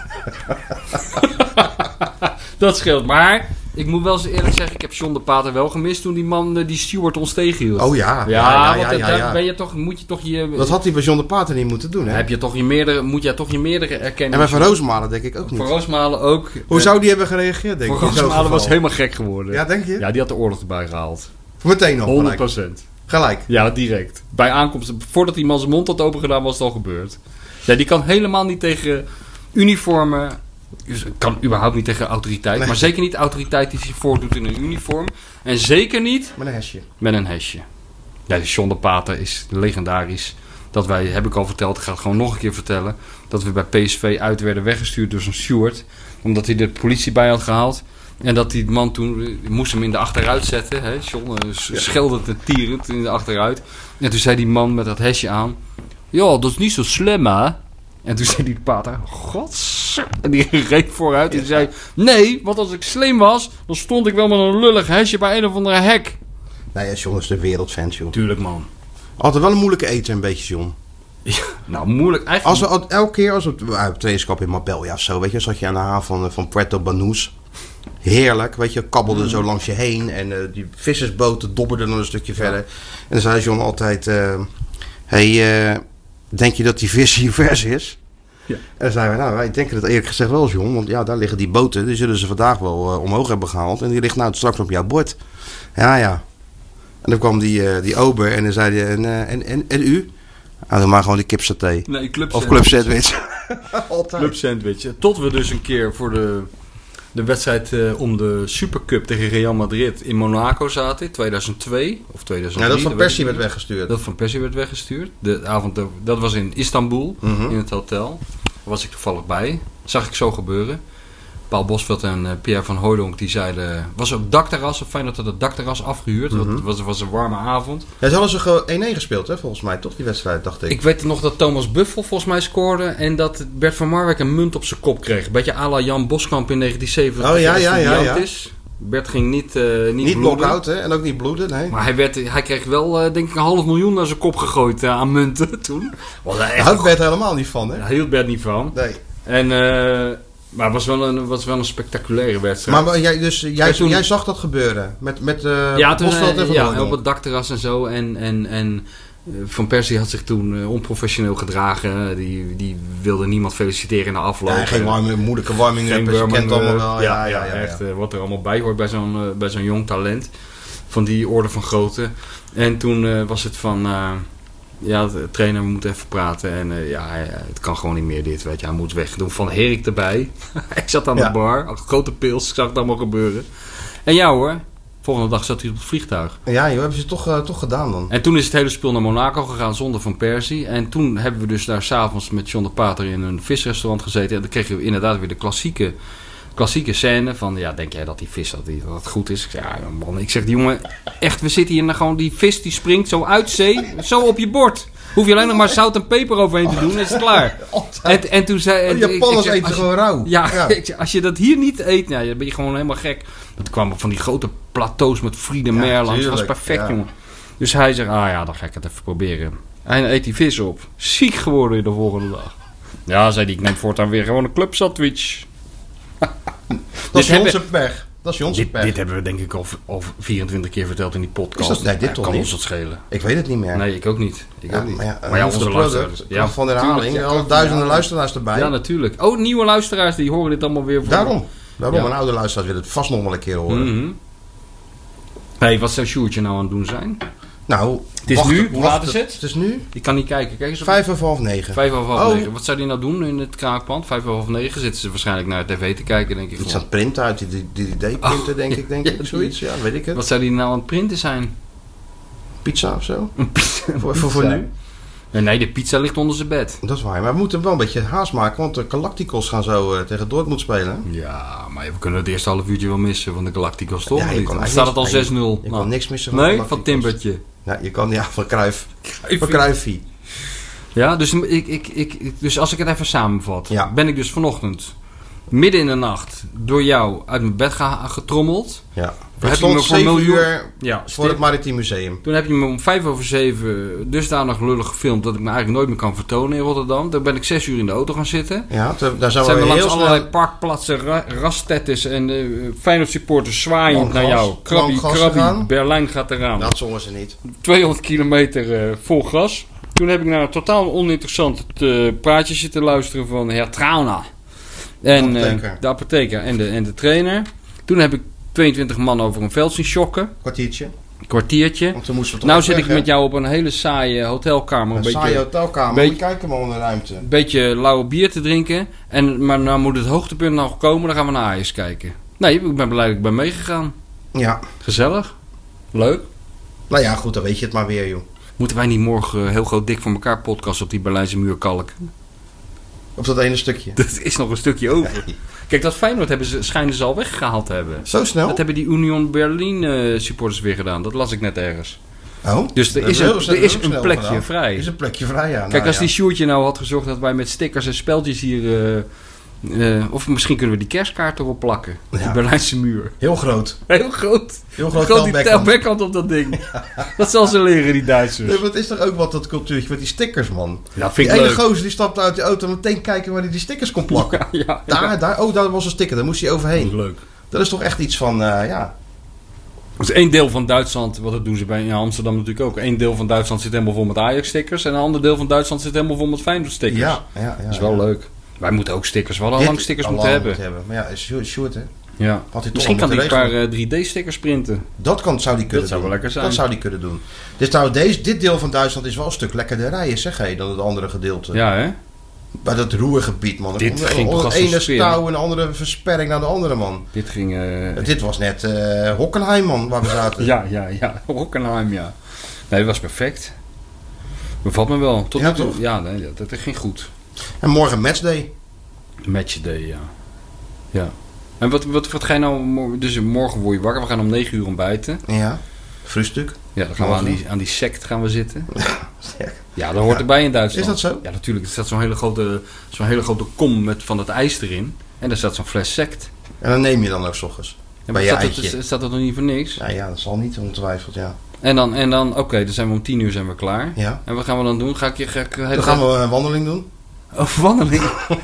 dat scheelt. Maar ik moet wel eens eerlijk zeggen, ik heb John de Pater wel gemist toen die man eh, die Stewart ons tegenhield. Oh ja, Ja, ja, ja, ja, want ja, daar ja. ben je toch, moet je toch je... Dat had hij bij John de Pater niet moeten doen, hè? heb je toch je meerdere, moet jij toch je meerdere En erkennen. bij Van Roosmalen denk ik ook Voor niet. Roosmalen ook. Hoe zou die hebben gereageerd, denk Voor ik? in zo'n Roosmalen geval? was helemaal gek geworden. Ja, denk je? Ja, die had de oorlog erbij gehaald. Meteen al 100 gelijk. Gelijk. Ja, direct. Bij aankomst, voordat die man zijn mond had opengedaan, was het al gebeurd. Ja, die kan helemaal niet tegen uniformen. dus Kan überhaupt niet tegen autoriteit. Nee. Maar zeker niet autoriteit die zich voordoet in een uniform. En zeker niet Met een hesje. met een hesje. Ja, de John de Pater is legendarisch. Dat wij, heb ik al verteld, ik ga het gewoon nog een keer vertellen. Dat we bij PSV uit werden weggestuurd door zo'n steward. Omdat hij de politie bij had gehaald. En dat die man toen eh, moest hem in de achteruit zetten. Hè? John eh, s- scheldend en tierend in de achteruit. En toen zei die man met dat hesje aan. Ja, dat is niet zo slim hè. En toen zei die pater, gods. En die reed vooruit en die zei... Nee, want als ik slim was, dan stond ik wel met een lullig hesje bij een of andere hek. Nou ja, John is de wereldfan, joh. Tuurlijk, man. Altijd wel een moeilijke eten, een beetje, John. Nou, moeilijk. Als Eigenlijk. we al- elke keer als we op ah, op trainingskamp in Marbella of zo, weet je, zat je aan de haven van, van Puerto Banús. Heerlijk, weet je, kabbelde Mm. zo langs je heen en eh, die vissersboten dobberden dan een stukje verder. En dan zei John altijd: eh, Hey, eh, denk je dat die vis hier vers is? Ja. En dan zeiden wij: Nou, wij denken dat eerlijk gezegd wel, John, want ja, daar liggen die boten, die zullen ze vandaag wel eh, omhoog hebben gehaald en die ligt nou straks op jouw bord. Ja, ja. En dan kwam die, eh, die ober en dan zei hij: En, eh, en, en, en u? Ah, doe maar gewoon die kipsaté. Nee, club Of Club Sandwich. Altijd. Club Sandwich. Tot we dus een keer voor de, de wedstrijd eh, om de Supercup tegen Real Madrid in Monaco zaten. in 2002 of 2003. Ja, dat van weet Persie ik werd niet. weggestuurd. Dat van Persie werd weggestuurd. De avond, daar- dat was in Istanbul, Mhm. in het hotel. Daar was ik toevallig bij. Zag ik zo gebeuren. Paul Bosveld en eh, Pierre van Hooydonk die zeiden... Was op dakterras, fijn dat het het dakterras afgehuurd. Mhm. want Het was, was een warme avond. Ja, ze hadden ze gewoon 1-1 gespeeld, hè, volgens mij, toch? Die wedstrijd, dacht ik. Ik weet nog dat Thomas Buffel volgens mij scoorde. En dat Bert van Marwijk een munt op zijn kop kreeg. Beetje à la Jan Boskamp in 1970. Oh, ja, als ja, hij ja, brand ja. Is. Bert ging niet, eh niet, niet bloeden. knock-out, hè? En ook niet bloeden, nee. Maar hij, werd, hij kreeg wel, eh, denk ik, een half miljoen naar zijn kop gegooid eh, aan munten toen. Was hij Daar echt... houdt Bert helemaal niet van, hè? Daar hield Bert niet van. Nee. En eh, Maar het was wel een, was wel een spectaculaire wedstrijd. Maar, maar jij, dus, eh, jij, Kijk, toen- jij zag dat gebeuren met, met eh ja, toen, Bosveld en eh, Van ja, Hooydonk. op het dakterras en zo. En, en, en eh, Van Persie had zich toen eh, onprofessioneel gedragen. Die, die wilde niemand feliciteren in de afloop. Ja, geen warme, moeilijke warming Geen up. Je kent Burman, het allemaal eh, wel. Ja, ja, ja, ja. echt eh, wat er allemaal bij hoort bij zo'n eh, bij zo'n jong talent. Van die orde van grootte. En toen eh, was het van... eh, ja, de trainer moet even praten. En eh, ja, hij- het kan gewoon niet meer dit, weet je. Hij moet weg. Doen Van Herik erbij. ik zat aan Ja. de bar. had Grote pils. Ik zag het allemaal gebeuren. En ja hoor. Volgende dag zat hij op het vliegtuig. Ja, joh, hebben ze het toch, eh, toch gedaan dan. En toen is het hele spul naar Monaco gegaan zonder Van Persie. En toen hebben we dus daar s'avonds met John de Pater in een visrestaurant gezeten. En dan kregen we inderdaad weer de klassieke, klassieke scène van... Ja, denk jij dat die vis dat, die, dat het goed is? Ik zeg, ja man, ik zeg die jongen... Echt, we zitten hier en dan gewoon die vis die springt zo uit zee, zo op je bord. Hoef je alleen nog maar zout en peper overheen te doen, dan is het klaar. Altijd. En, en toen zei... en De ik- ik Japanners zeg, eten als je- gewoon rauw. ja, ik zeg, als je dat hier niet eet, nou, dan ben je gewoon helemaal gek. Dat kwam op van die grote plateaus met Friede Ja, Merlands. Dat was tuurlijk, perfect, ja. jongen. Dus hij zegt, ah ja, dan ga ik het even proberen. Hij eet die vis op. Ziek geworden in de volgende dag. Ja, zei hij, ik neem voortaan weer gewoon een club sandwich. Dat is dit Jonse pech. Dat is Jonse Dit, pech. dit hebben we denk ik al, al 24 keer verteld in die podcast. Is dat- nee, dit Ja, toch kan niet? ons dat schelen. Ik weet het niet meer. Nee, ik ook niet. Ik Ja, ook niet. maar ja, ja, Jonse onze product, luisteraars. kracht van de herhaling. eh, tuurlijk, ja, al kracht van de duizenden herhaling. luisteraars erbij. Ja, natuurlijk. Oh, nieuwe luisteraars, die horen dit allemaal weer. Voor Daarom. Daarom, Ja. een oude luisteraar wil het vast nog wel een keer horen. Mhm. hey, wat zou Sjoertje nou aan het doen zijn? Nou, is wacht- nu? Hoe wacht- laat is het? Het is nu Ik kan niet kijken. Kijk eens op vijf over half negen. vijf over half Oh. negen. Wat zou die nou doen in het kraakpand? Vijf over half negen zitten ze waarschijnlijk naar de tv te kijken, denk ik. Iets aan gewoon. het printen uit, die- die die DD-printer, denk ik, denk Oh, ja, ik, die- zoiets. Ja, weet ik het. Wat zou die nou aan het printen zijn? Pizza of zo? voor, voor, voor nu? Nee, Eh, nee, de pizza ligt onder zijn bed. Dat is waar, maar we moeten wel een beetje haast maken, want de Galacticos gaan zo eh, tegen Dortmund spelen. Ja, maar we kunnen het eerste half uurtje wel missen van de Galacticos, toch? Ja, je Niet? kan Dan eigenlijk staat het al niks- 6-0. Je kan niks missen van de Nee, van Galacticos. Timbertje. Ja, je kan, ja, van Cruijff. Van Cruijffie. Ja, dus, ik, ik, ik, ik- dus als ik het even samenvat. Ja. Ben ik dus vanochtend, midden in de nacht, door jou uit mijn bed geha- getrommeld. Ja. Heb Het je me stond voor 7 miljoen- uur Ja, voor het Maritiem Museum. Toen heb je me om vijf over zeven dusdanig lullig gefilmd dat ik me eigenlijk nooit meer kan vertonen in Rotterdam. Toen ben ik zes uur in de auto gaan zitten. Ja, te- daar zijn we, Zijn we heel langs snel... allerlei parkplaatsen, ra rastettes en eh Feyenoord supporters zwaaiend Lang naar gas, jou. Krabby, lang gas krabby, gegaan. Berlijn gaat eraan. Nou, Dat zongen ze niet. 200 kilometer eh, vol gas. Toen heb ik naar een totaal oninteressant eh, praatje zitten luisteren van Herr Trauna. En, De eh, apotheker. de apotheker en de, en de trainer. Toen heb ik 22 man over een veld zien schokken. Kwartiertje. Een kwartiertje. Want toen moesten we toch Nou echt zit ik weg, hè? met jou op een hele saaie hotelkamer. Een Een saaie beetje, hotelkamer. beetje- Moet je kijken maar naar de ruimte. een beetje lauwe bier te drinken. En, maar nou moet het hoogtepunt nog komen. Dan gaan we naar Ajax kijken. Nee, ik ben blij dat ik ben meegegaan. Ja. Gezellig. Leuk. Nou ja, goed, dan weet je het maar weer, joh. Moeten wij niet morgen eh, heel groot dik voor elkaar podcast op die Berlijnse muur kalken? Op dat ene stukje. Dat is nog een stukje over. Kijk, dat Feyenoord hebben ze, schijnen ze al weggehaald te hebben. Zo snel? Dat hebben die Union Berlin eh, supporters weer gedaan. Dat las ik net ergens. Oh. Dus er Dat is hebben een- we- dat er is hebben we snel een plekje gedaan. vrij. Er is een plekje vrij, ja. Kijk, Nou als ja. die Sjoertje nou had gezorgd dat wij met stickers en speldjes hier... eh, eh, of misschien kunnen we die kerstkaart erop plakken. Op die Ja. Berlijnse muur. Heel groot. Heel groot. Heel groot groot die Tel Beckham. telbackhand op dat ding. dat zal ze leren, die Duitsers. Nee, maar het is toch ook wat dat cultuurtje met die stickers, man. Ja, Die vind ik ene leuk. gozer die stapte uit de auto en meteen kijken waar hij die stickers kon plakken. Ja, ja. Daar, daar, oh, daar was een sticker, daar moest hij overheen. Leuk. Dat is toch echt iets van, eh, ja. Dus één deel van Duitsland, wat dat doen ze bij in Amsterdam natuurlijk ook. Eén deel van Duitsland zit helemaal vol met Ajax-stickers. En een ander deel van Duitsland zit helemaal vol met Feyenoord-stickers. Ja, ja, ja. Dat is wel leuk. Wij moeten ook stickers. We hadden al Dit lang stickers al moeten lang hebben. Maar ja, is Sjoerd- Sjoerd, hè. Ja. Had hij toch Misschien al moeten kan die een paar regelen. eh, 3D-stickers printen. Dat kan, zou die kunnen zou doen. wel lekker zijn. Dat zou die kunnen doen. Dus trouwens, deze, dit deel van Duitsland is wel een stuk lekkerder rijden, zeg hé, dan het andere gedeelte. Ja, hè? Bij dat roergebied, man. Dit Om- ging om- om gras de ene versperren. touw en de andere versperring naar de andere, man. Dit ging... eh, Dit was net eh Hockenheim, man, waar we zaten. Ja, ja, ja. Hockenheim, ja. Nee, dat was perfect. Bevalt me wel. Tot Ja, nu toe- toch? Ja, nee, dat, dat ging goed. En morgen matchday. Matchday, ja. Ja. En wat, wat, wat ga je nou... mo- Dus morgen word je wakker. We gaan om 9 uur ontbijten. Ja. Frühstuk. Ja, dan gaan we aan Morgen. die, aan die sect gaan we zitten. Ja. Ja, dat hoort erbij in Duitsland. Is dat zo? Ja, natuurlijk. Er staat zo'n hele grote, zo'n hele grote kom met, van dat ijs erin. En daar staat zo'n fles sect. En dan neem je dan ook s ochtends. En Bij je staat, eitje. dat, staat dat nog niet voor niks? Nou ja, dat zal niet ongetwijfeld, ja. En dan, en dan oké, dan zijn we om tien uur zijn we klaar. Ja. En wat gaan we dan doen? Ga ik je... Ga ik, Dan gaan we een wandeling doen. Over wandeling.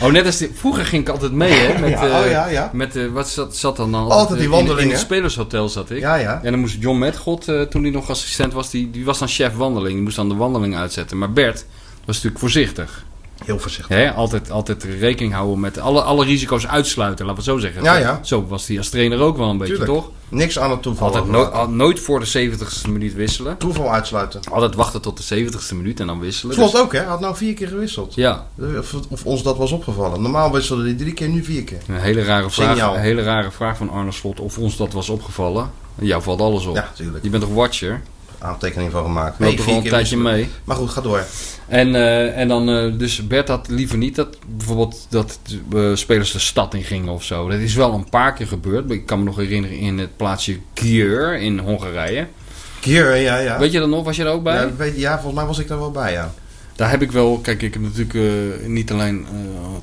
Oh, net als die- vroeger ging ik altijd mee, hè? Met, Ja, eh, oh ja, ja. Met, eh, wat zat, zat dan dan? Altijd die eh, In, wandeling, in het hè? spelershotel zat ik. Ja, ja. En dan moest John Metgod, eh, toen hij nog assistent was, die, die was dan chef wandeling. Die moest dan de wandeling uitzetten. Maar Bert was natuurlijk voorzichtig. Heel voorzichtig. Hè? Altijd, altijd rekening houden met alle, alle risico's uitsluiten, laten we het zo zeggen. Ja, ja. Zo was hij als trainer ook wel een beetje, Tuurlijk. toch? Niks aan het toeval. Altijd no- overlaten. al- nooit voor de 70ste minuut wisselen. Toeval uitsluiten. Altijd wachten tot de 70ste minuut en dan wisselen. Slot Dus- ook, hè? Hij had nou vier keer gewisseld. ja, Of, of ons dat was opgevallen. Normaal wisselde hij drie keer, nu vier keer. Een hele rare vraag, Signaal. een hele rare vraag van Arne Slot of ons dat was opgevallen. Jou valt alles op. Ja, natuurlijk. Je bent toch watcher? Aantekening van gemaakt. Loopt toch al een tijdje wisselen. mee. Maar goed, ga door. En, eh, en dan, eh, dus Bert had liever niet dat bijvoorbeeld dat eh, spelers de stad in gingen of zo. Dat is wel een paar keer gebeurd. maar Ik kan me nog herinneren in het plaatsje Gier in Hongarije. Kier, ja, ja. Weet je dat nog? Was je er ook bij? Ja, weet- ja, volgens mij was ik daar wel bij, ja. Daar heb ik wel, kijk, ik heb natuurlijk eh, niet alleen eh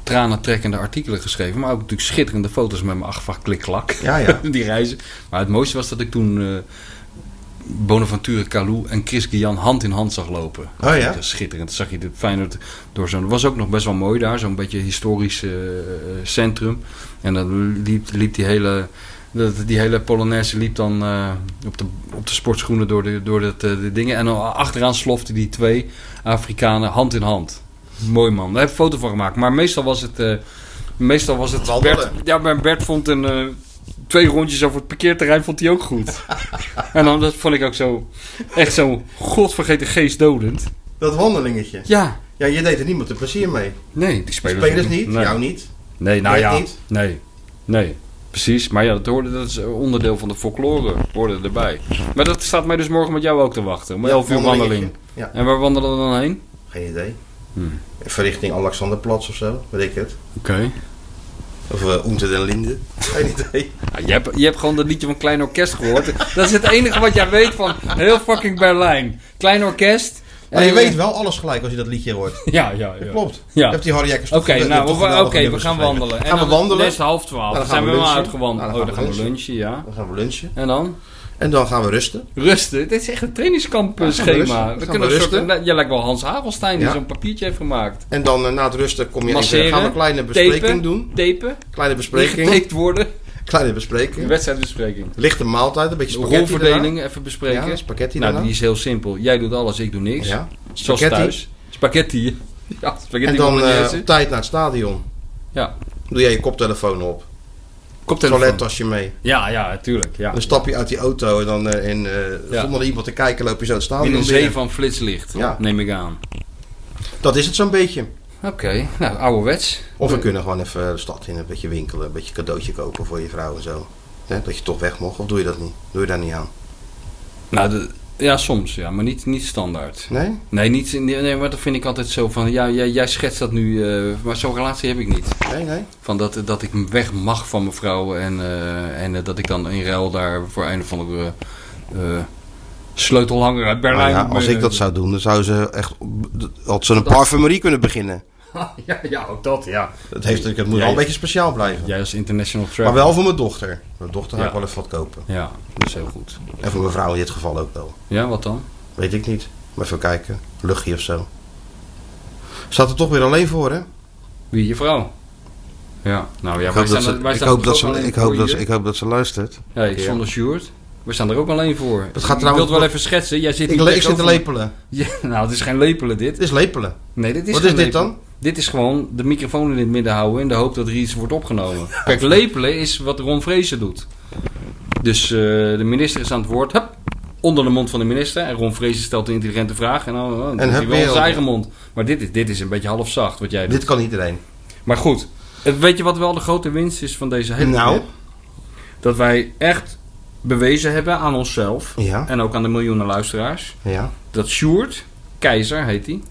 tranentrekkende artikelen geschreven, maar ook natuurlijk schitterende foto's met mijn achtvak klikklak. Ja, ja. die reizen. Maar het mooiste was dat ik toen eh Bonaventure Calou en Chris Guyan hand in hand zag lopen. Oh ja? Dat is schitterend. Dat zag je de Feyenoord door zo'n... Het was ook nog best wel mooi daar, zo'n beetje historisch eh, centrum. En dan liep, liep die hele... dat- Die hele Polonaise liep dan eh, op, de, op de sportschoenen door, de, door dat, eh, de dingen. En dan achteraan sloften die twee Afrikanen hand in hand. Mooi man. Daar heb ik een foto van gemaakt. Maar meestal was het... eh, meestal was het... Wandelen. Bert, ja, maar Bert vond een... eh, twee rondjes over het parkeerterrein vond hij ook goed. en dan, dat vond ik ook zo... Echt zo godvergeten geestdodend. Dat wandelingetje. Ja. Ja, je deed er niemand een plezier mee. Nee, die spelers, Spelers niet, Nee, jou niet. nee nou Bert ja. niet. Nee. Nee. Precies. Maar ja, dat, hoorde, dat is onderdeel van de folklore. Hoorde erbij. Maar dat staat mij dus morgen met jou ook te wachten. Om Ja, 11 uur wandeling. wandelingetje. Ja, En waar wandelen we dan heen? geen idee. Hmm. Verrichting Alexanderplatz of zo, weet ik het. Oké. Of eh Oente den Linde. Geen idee. Ja, je, hebt, je hebt gewoon dat liedje van Klein Orkest gehoord. Dat is het enige wat jij weet van heel fucking Berlijn. Klein Orkest. Maar je En- weet wel alles gelijk als je dat liedje hoort. Ja, ja, ja. Klopt. Ja. Ik heb die Harry Jekkers Oké, toch geweldig- nou, toch we, geweldige oké, we nummers gaan geschreven. wandelen. En Gaan we dan- wandelen? Het is half twaalf. Dan Dan gaan zijn we we wel lunchen. uitgewandeld. Nou, Oh, dan gaan we lunchen, ja. Dan gaan we lunchen. En dan? En dan gaan we rusten. Rusten. Dit is echt een Ja, gaan we rusten. trainingskampschema. Dan We gaan kunnen we een soort... rusten. Jij lijkt wel Hans Havelstein die Ja. zo'n papiertje heeft gemaakt. En dan eh, na het rusten kom je Masseren. even, gaan we een kleine bespreking tapen, doen. Tapen. Kleine Die bespreking. getaped worden. Kleine De bespreking. wedstrijdbespreking. Lichte maaltijd, een beetje De spaghetti rolverdeling even bespreken. Ja, spaghetti Nou, daarna. die is heel simpel. Jij doet alles, ik doe niks. daarna. Ja. Zoals Spaghetti. thuis. Spaghetti. Ja, spaghetti En dan eh, bolognese. op tijd naar het stadion. ja. Doe jij je koptelefoon op. Koptelefoon. Toilettasje mee. Ja, ja, tuurlijk. Ja. Dan stap je uit die auto en dan eh, in, eh, Ja. zonder iemand te kijken loop je zo het In stadion een binnen. zee van flitslicht, Ja. neem ik aan. Dat is het zo'n beetje. Oké, nou, ouderwets. Of we kunnen gewoon even eh, de stad in, een beetje winkelen, een beetje cadeautje kopen voor je vrouw en zo. Hè, dat je toch weg mocht, of doe je dat niet? Doe je daar niet aan? Nou, de- ja, soms, ja, maar niet, niet standaard. Nee? Nee, niet, nee, nee, maar dat vind ik altijd zo van, ja, jij, jij schetst dat nu, eh, maar zo'n relatie heb ik niet. Nee, nee. Van dat, dat ik weg mag van mijn vrouw en, eh, en eh, dat ik dan in ruil daar voor een of andere eh, sleutelhanger uit Maar Berlijn... Nou Ah eh, ja, als ik dat zou doen, dan zou ze echt, had ze een parfumerie kunnen beginnen. ja, ja, ook dat, ja. Dat, heeft, het moet Ja, wel een ja. beetje speciaal blijven. Jij als international Maar travel. wel voor mijn dochter. Mijn dochter ga ik Ja. wel even wat kopen. Ja, dat is heel goed. En voor mijn vrouw in dit geval ook wel. Ja, wat dan? Weet ik niet. Maar even kijken. Luchtje of zo. Staat er toch weer alleen voor, hè? Wie, je vrouw? Ja, nou ja, Ik hoop wij dat staan ze- er- wij ik staan hoop er dat ook ze- alleen ik hoop voor dat hier. ze- ik hoop dat ze luistert. Hey, zonder Sjoerd. We staan er ook alleen voor. Dat gaat Je trouwens- wilt wel even schetsen. Jij zit Ik, hier le- ik zit te tegenover- lepelen. Ja, nou, het is geen lepelen dit. Het is lepelen. Nee, dit is Wat geen is dit lepelen. dan? Dit is gewoon de microfoon in het midden houden in de hoop dat er iets wordt opgenomen. Kijk, lepelen is wat Ron Vrezen doet. Dus eh, de minister is aan het woord. Hup, onder de mond van de minister. En Ron Vrezen stelt een intelligente vraag. En dan, oh, dan doet hup, hij wel weer in zijn op. eigen mond. Maar dit is, dit is een beetje half zacht wat jij doet. Dit kan iedereen. Maar goed, het- weet je wat wel de grote winst is van deze hele Nou? trip? Dat wij echt bewezen hebben aan onszelf Ja. en ook aan de miljoenen luisteraars... Ja. dat Sjoerd, Keizer heet hij...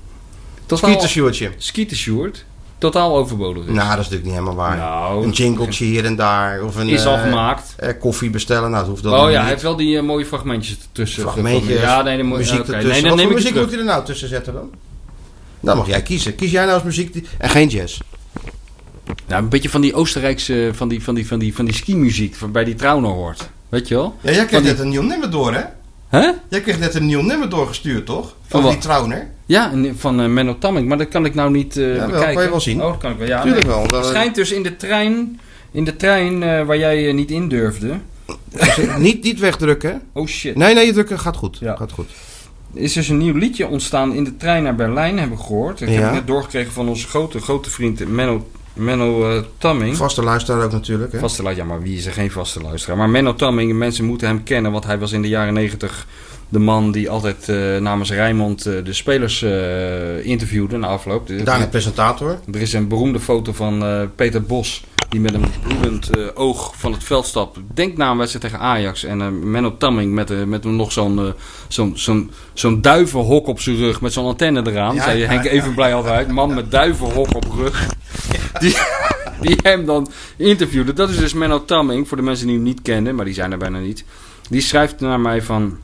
totaal- Pietersjoertje. Skeeter Sjoerd, totaal overbodig is. Nou, dat is natuurlijk niet helemaal waar. Nou, een jingletje hier en daar. Of een, Is al eh, gemaakt. eh, koffie bestellen. Nou, dat hoeft dan Oh niet. ja, hij heeft wel die eh, mooie fragmentjes ertussen. Fragmentjes, Ja, nee, de mo- muziek oké. ertussen. Nee, Wat dan voor neem ik het muziek moet terug. hij er nou tussen zetten dan? Dan mag jij kiezen. Kies jij nou als muziek die- en geen jazz. Nou, een beetje van die Oostenrijkse, van die, van die, van die, van die ski-muziek, van bij die Trauner hoort. Weet je wel? Ja, jij Van kent die- net een nieuw nummer door, hè? Hè? Jij kreeg net een nieuw nummer doorgestuurd, toch? Van Van wat? die trouwner. Ja, en van eh, Menno Tamming. Maar dat kan ik nou niet eh, wel, bekijken. kan je wel zien. Oh, dat kan ik wel. Ja, Tuurlijk nee. wel. Het Dat- schijnt dus in de trein, in de trein eh, waar jij eh, niet in durfde. niet, niet wegdrukken. hè? Oh shit. Nee, nee, je drukken gaat goed. Ja. Gaat goed. Is dus een nieuw liedje ontstaan in de trein naar Berlijn, hebben we gehoord. Ik heb Ja. het net doorgekregen van onze grote, grote vriend Menno, Menno eh, Tamming. Vaste luisteraar ook natuurlijk. Hè? Vaste luisteraar, ja, maar wie is er geen vaste luisteraar? Maar Menno Tamming, mensen moeten hem kennen, want hij was in de jaren negentig de man die altijd eh, namens Rijnmond eh, de spelers eh, interviewde na afloop. De- Daarna presentator. Er is een beroemde foto van eh, Peter Bos. Die met een bloedend eh, oog van het veld stapt. Denk na een wedstrijd tegen Ajax. En eh Menno Tamming met, eh, met nog zo'n eh, zo'n zo'n zo'n duivenhok op zijn rug. Met zo'n antenne eraan. Ja, zei ja, Henk ja. even blij altijd. Man met duivenhok op rug. Die, die hem dan interviewde. Dat is dus Menno Tamming. Voor de mensen die hem niet kennen. Maar die zijn er bijna niet. Die schrijft naar mij van...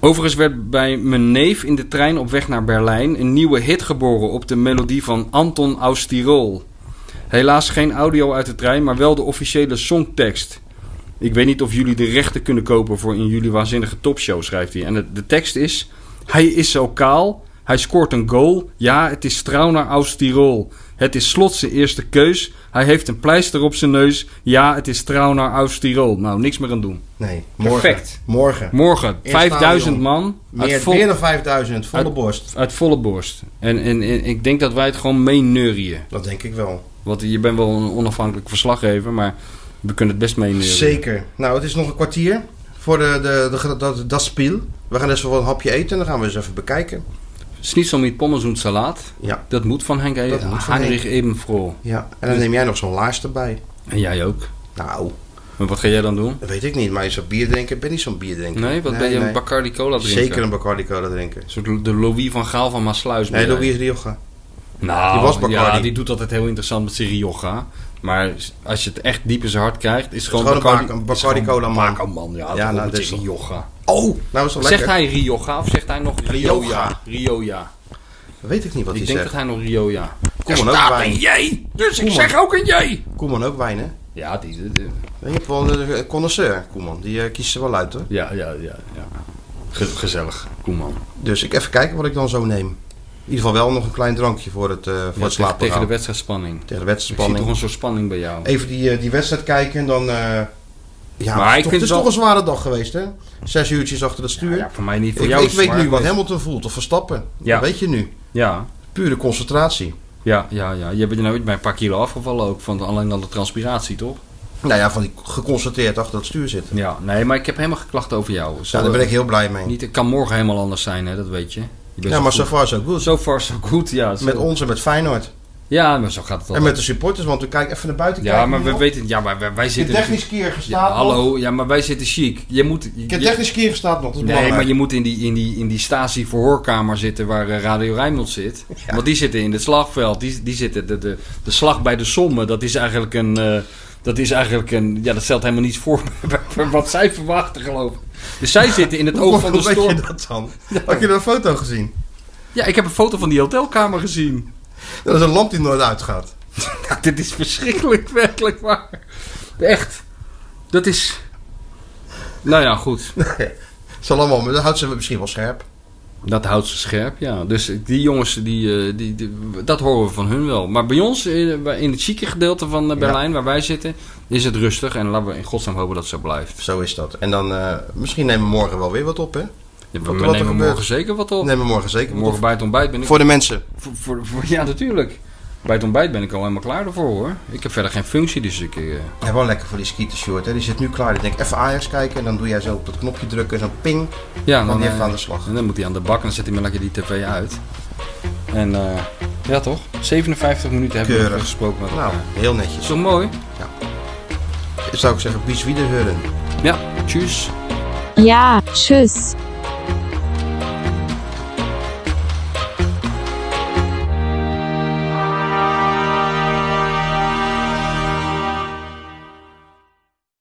Overigens werd bij mijn neef in de trein op weg naar Berlijn een nieuwe hit geboren op de melodie van Anton aus Tirol. Helaas geen audio uit de trein, maar wel de officiële songtekst. Ik weet niet of jullie de rechten kunnen kopen voor in jullie waanzinnige topshow, schrijft hij. En de, de tekst is: Hij is zo kaal, hij scoort een goal. Ja, het is trouw naar aus Tirol. Het is slot zijn eerste keus. Hij heeft een pleister op zijn neus. Ja, het is trouw naar aus Tirol. Nou, niks meer aan doen. Nee, morgen. Perfect. Morgen. Morgen, Eerst 5000 stadion. man. uit Meer, vol- meer dan 5000, volle Uit- borst. Uit volle borst. En, en, en ik denk dat wij het gewoon meeneurien. Dat denk ik wel. Want je bent wel een onafhankelijk verslaggever, maar we kunnen het best meeneurien. Zeker. Nou, het is nog een kwartier voor de, de, de, dat- dat spiel. We gaan dus wel een hapje eten en dan gaan we eens even bekijken. Schnitzel met pommes en salaat. Ja. Dat moet van Henk Dat moet van Heinrich Ebenfroh. ja. En Dus- dan neem jij nog zo'n laars erbij. En jij ook. Nou, Maar wat ga jij dan doen? dat weet ik niet. Maar zo'n bier drinken, ik ben niet zo'n bier drinken. Nee, wat ben je een Bacardi cola drinken? Zeker een Bacardi cola drinken. Een soort de Louis van Gaal van Maasluis. ben Nee, jij. Louis Rioja. Nou, Die was Bacardi. ja, die doet altijd heel interessant met zijn Rioja. Maar als je het echt diep in zijn hart krijgt, is het gewoon, gewoon een Bac- een is Bacardi gewoon cola man. Baco man, ja. Ja, ja nou, nou, dat dat is is toch- Rioja. Oh! Nou, is wel lekker. Zegt hij Rioja of zegt hij nog Rioja? Rioja. Rioja. Dat weet ik niet wat Ik hij denk zegt. dat hij nog Rioja. Koeman ook wijn. jij, dus Kom maar. ook een jij. Koeman ook wijn, hè? Ja, die, die- die- Je hebt wel een eh, connoisseur, Koeman. Die eh, kiest er wel uit, hoor. ja, ja, ja. ja. Ge- gezellig, Koeman. Dus ik even kijken wat ik dan zo neem. In ieder geval wel nog een klein drankje voor het, eh voor Ja, het tegen, slapen tegen de gaan. wedstrijdspanning. Tegen de Ik zie toch wedstrijdspanning. een soort spanning bij jou. Even die, eh, die wedstrijd kijken en dan... eh, ja, Maar het is ik toch- vind het is wel- toch een zware dag geweest, hè? Zes uurtjes achter het stuur. Ja, voor mij niet. Voor ik jou ik is het weet nu zwaar wat geweest. Hamilton voelt, of Verstappen. Ja. Dat weet je nu. Ja, Pure concentratie. ja, ja, ja. Je bent er nou bij een paar kilo afgevallen ook. Van alleen al de transpiratie, toch? Nou ja, van die geconcentreerd achter het stuur zitten. Ja, nee, maar ik heb helemaal geklacht over jou. Ja, daar ben ik heel blij mee. Niet, het kan morgen helemaal anders zijn, hè, dat weet je. je bent Ja, zo maar goed. so far so good. So far so good, ja. zo- Met ons en met Feyenoord. Ja, maar zo gaat En het altijd. met de supporters, want we kijken even naar buiten. ja, kijken maar nu we nog. weten... Ja, maar wij, wij Ik heb zitten... dus technisch keer Ja, gestaan. nog. hallo, ja, maar wij zitten chic. Je moet... Ik heb je- technisch keer gestaan nog. Dat is Nee, belangrijk. maar je moet in die, in die, in die statie verhoorkamer zitten waar eh, Radio Rijnmond zit. Want die zitten in het slagveld. Die, die zitten, de, de, de slag bij de sommen, dat is eigenlijk een... eh, dat is eigenlijk een... Ja, dat stelt helemaal niets voor bij- bij wat zij verwachten, geloof ik. Dus zij zitten in het oog van de Hoe weet storm. je dat dan? Had je dat foto gezien? Ja, ik heb een foto van die hotelkamer gezien. Dat is een lamp die nooit uitgaat. Ja, dit is verschrikkelijk, werkelijk waar. Echt. Dat is... Nou ja, goed. Zal allemaal, maar dat houdt ze misschien wel scherp. Dat houdt ze scherp, ja. Dus die jongens, die, eh, die, die- dat horen we van hun wel. Maar bij ons, eh, in het chique gedeelte van eh, Berlijn, waar wij zitten, is het rustig. En laten we in godsnaam hopen dat het zo blijft. Zo is dat. En dan, eh, misschien nemen we morgen wel weer wat op, hè? Ja, we Wat- wat er nemen gebeurt. morgen zeker wat op. Nemen we morgen zeker wat Oh. morgen bij het ontbijt ben op. ik... Voor de mensen. voor- voor- voor- ja, natuurlijk. Bij het ontbijt ben ik al helemaal klaar ervoor, hoor. Ik heb verder geen functie, dus ik... eh, Ja, wel lekker voor die skieten short, hè? Die zit nu klaar. Ik denk even Ajax kijken en dan doe jij zo op dat knopje drukken, zo'n ping. ja, Dan dan, even eh, aan de slag. En dan moet hij aan de bak en dan zet hij maar lekker die tv uit. En eh, ja, toch? 57 minuten hebben we Keurig. even gesproken met elkaar. Nou, heel Is netjes. toch mooi? Zou ik zeggen, bis wiederhören. Ja, tjus. Ja, tschüss.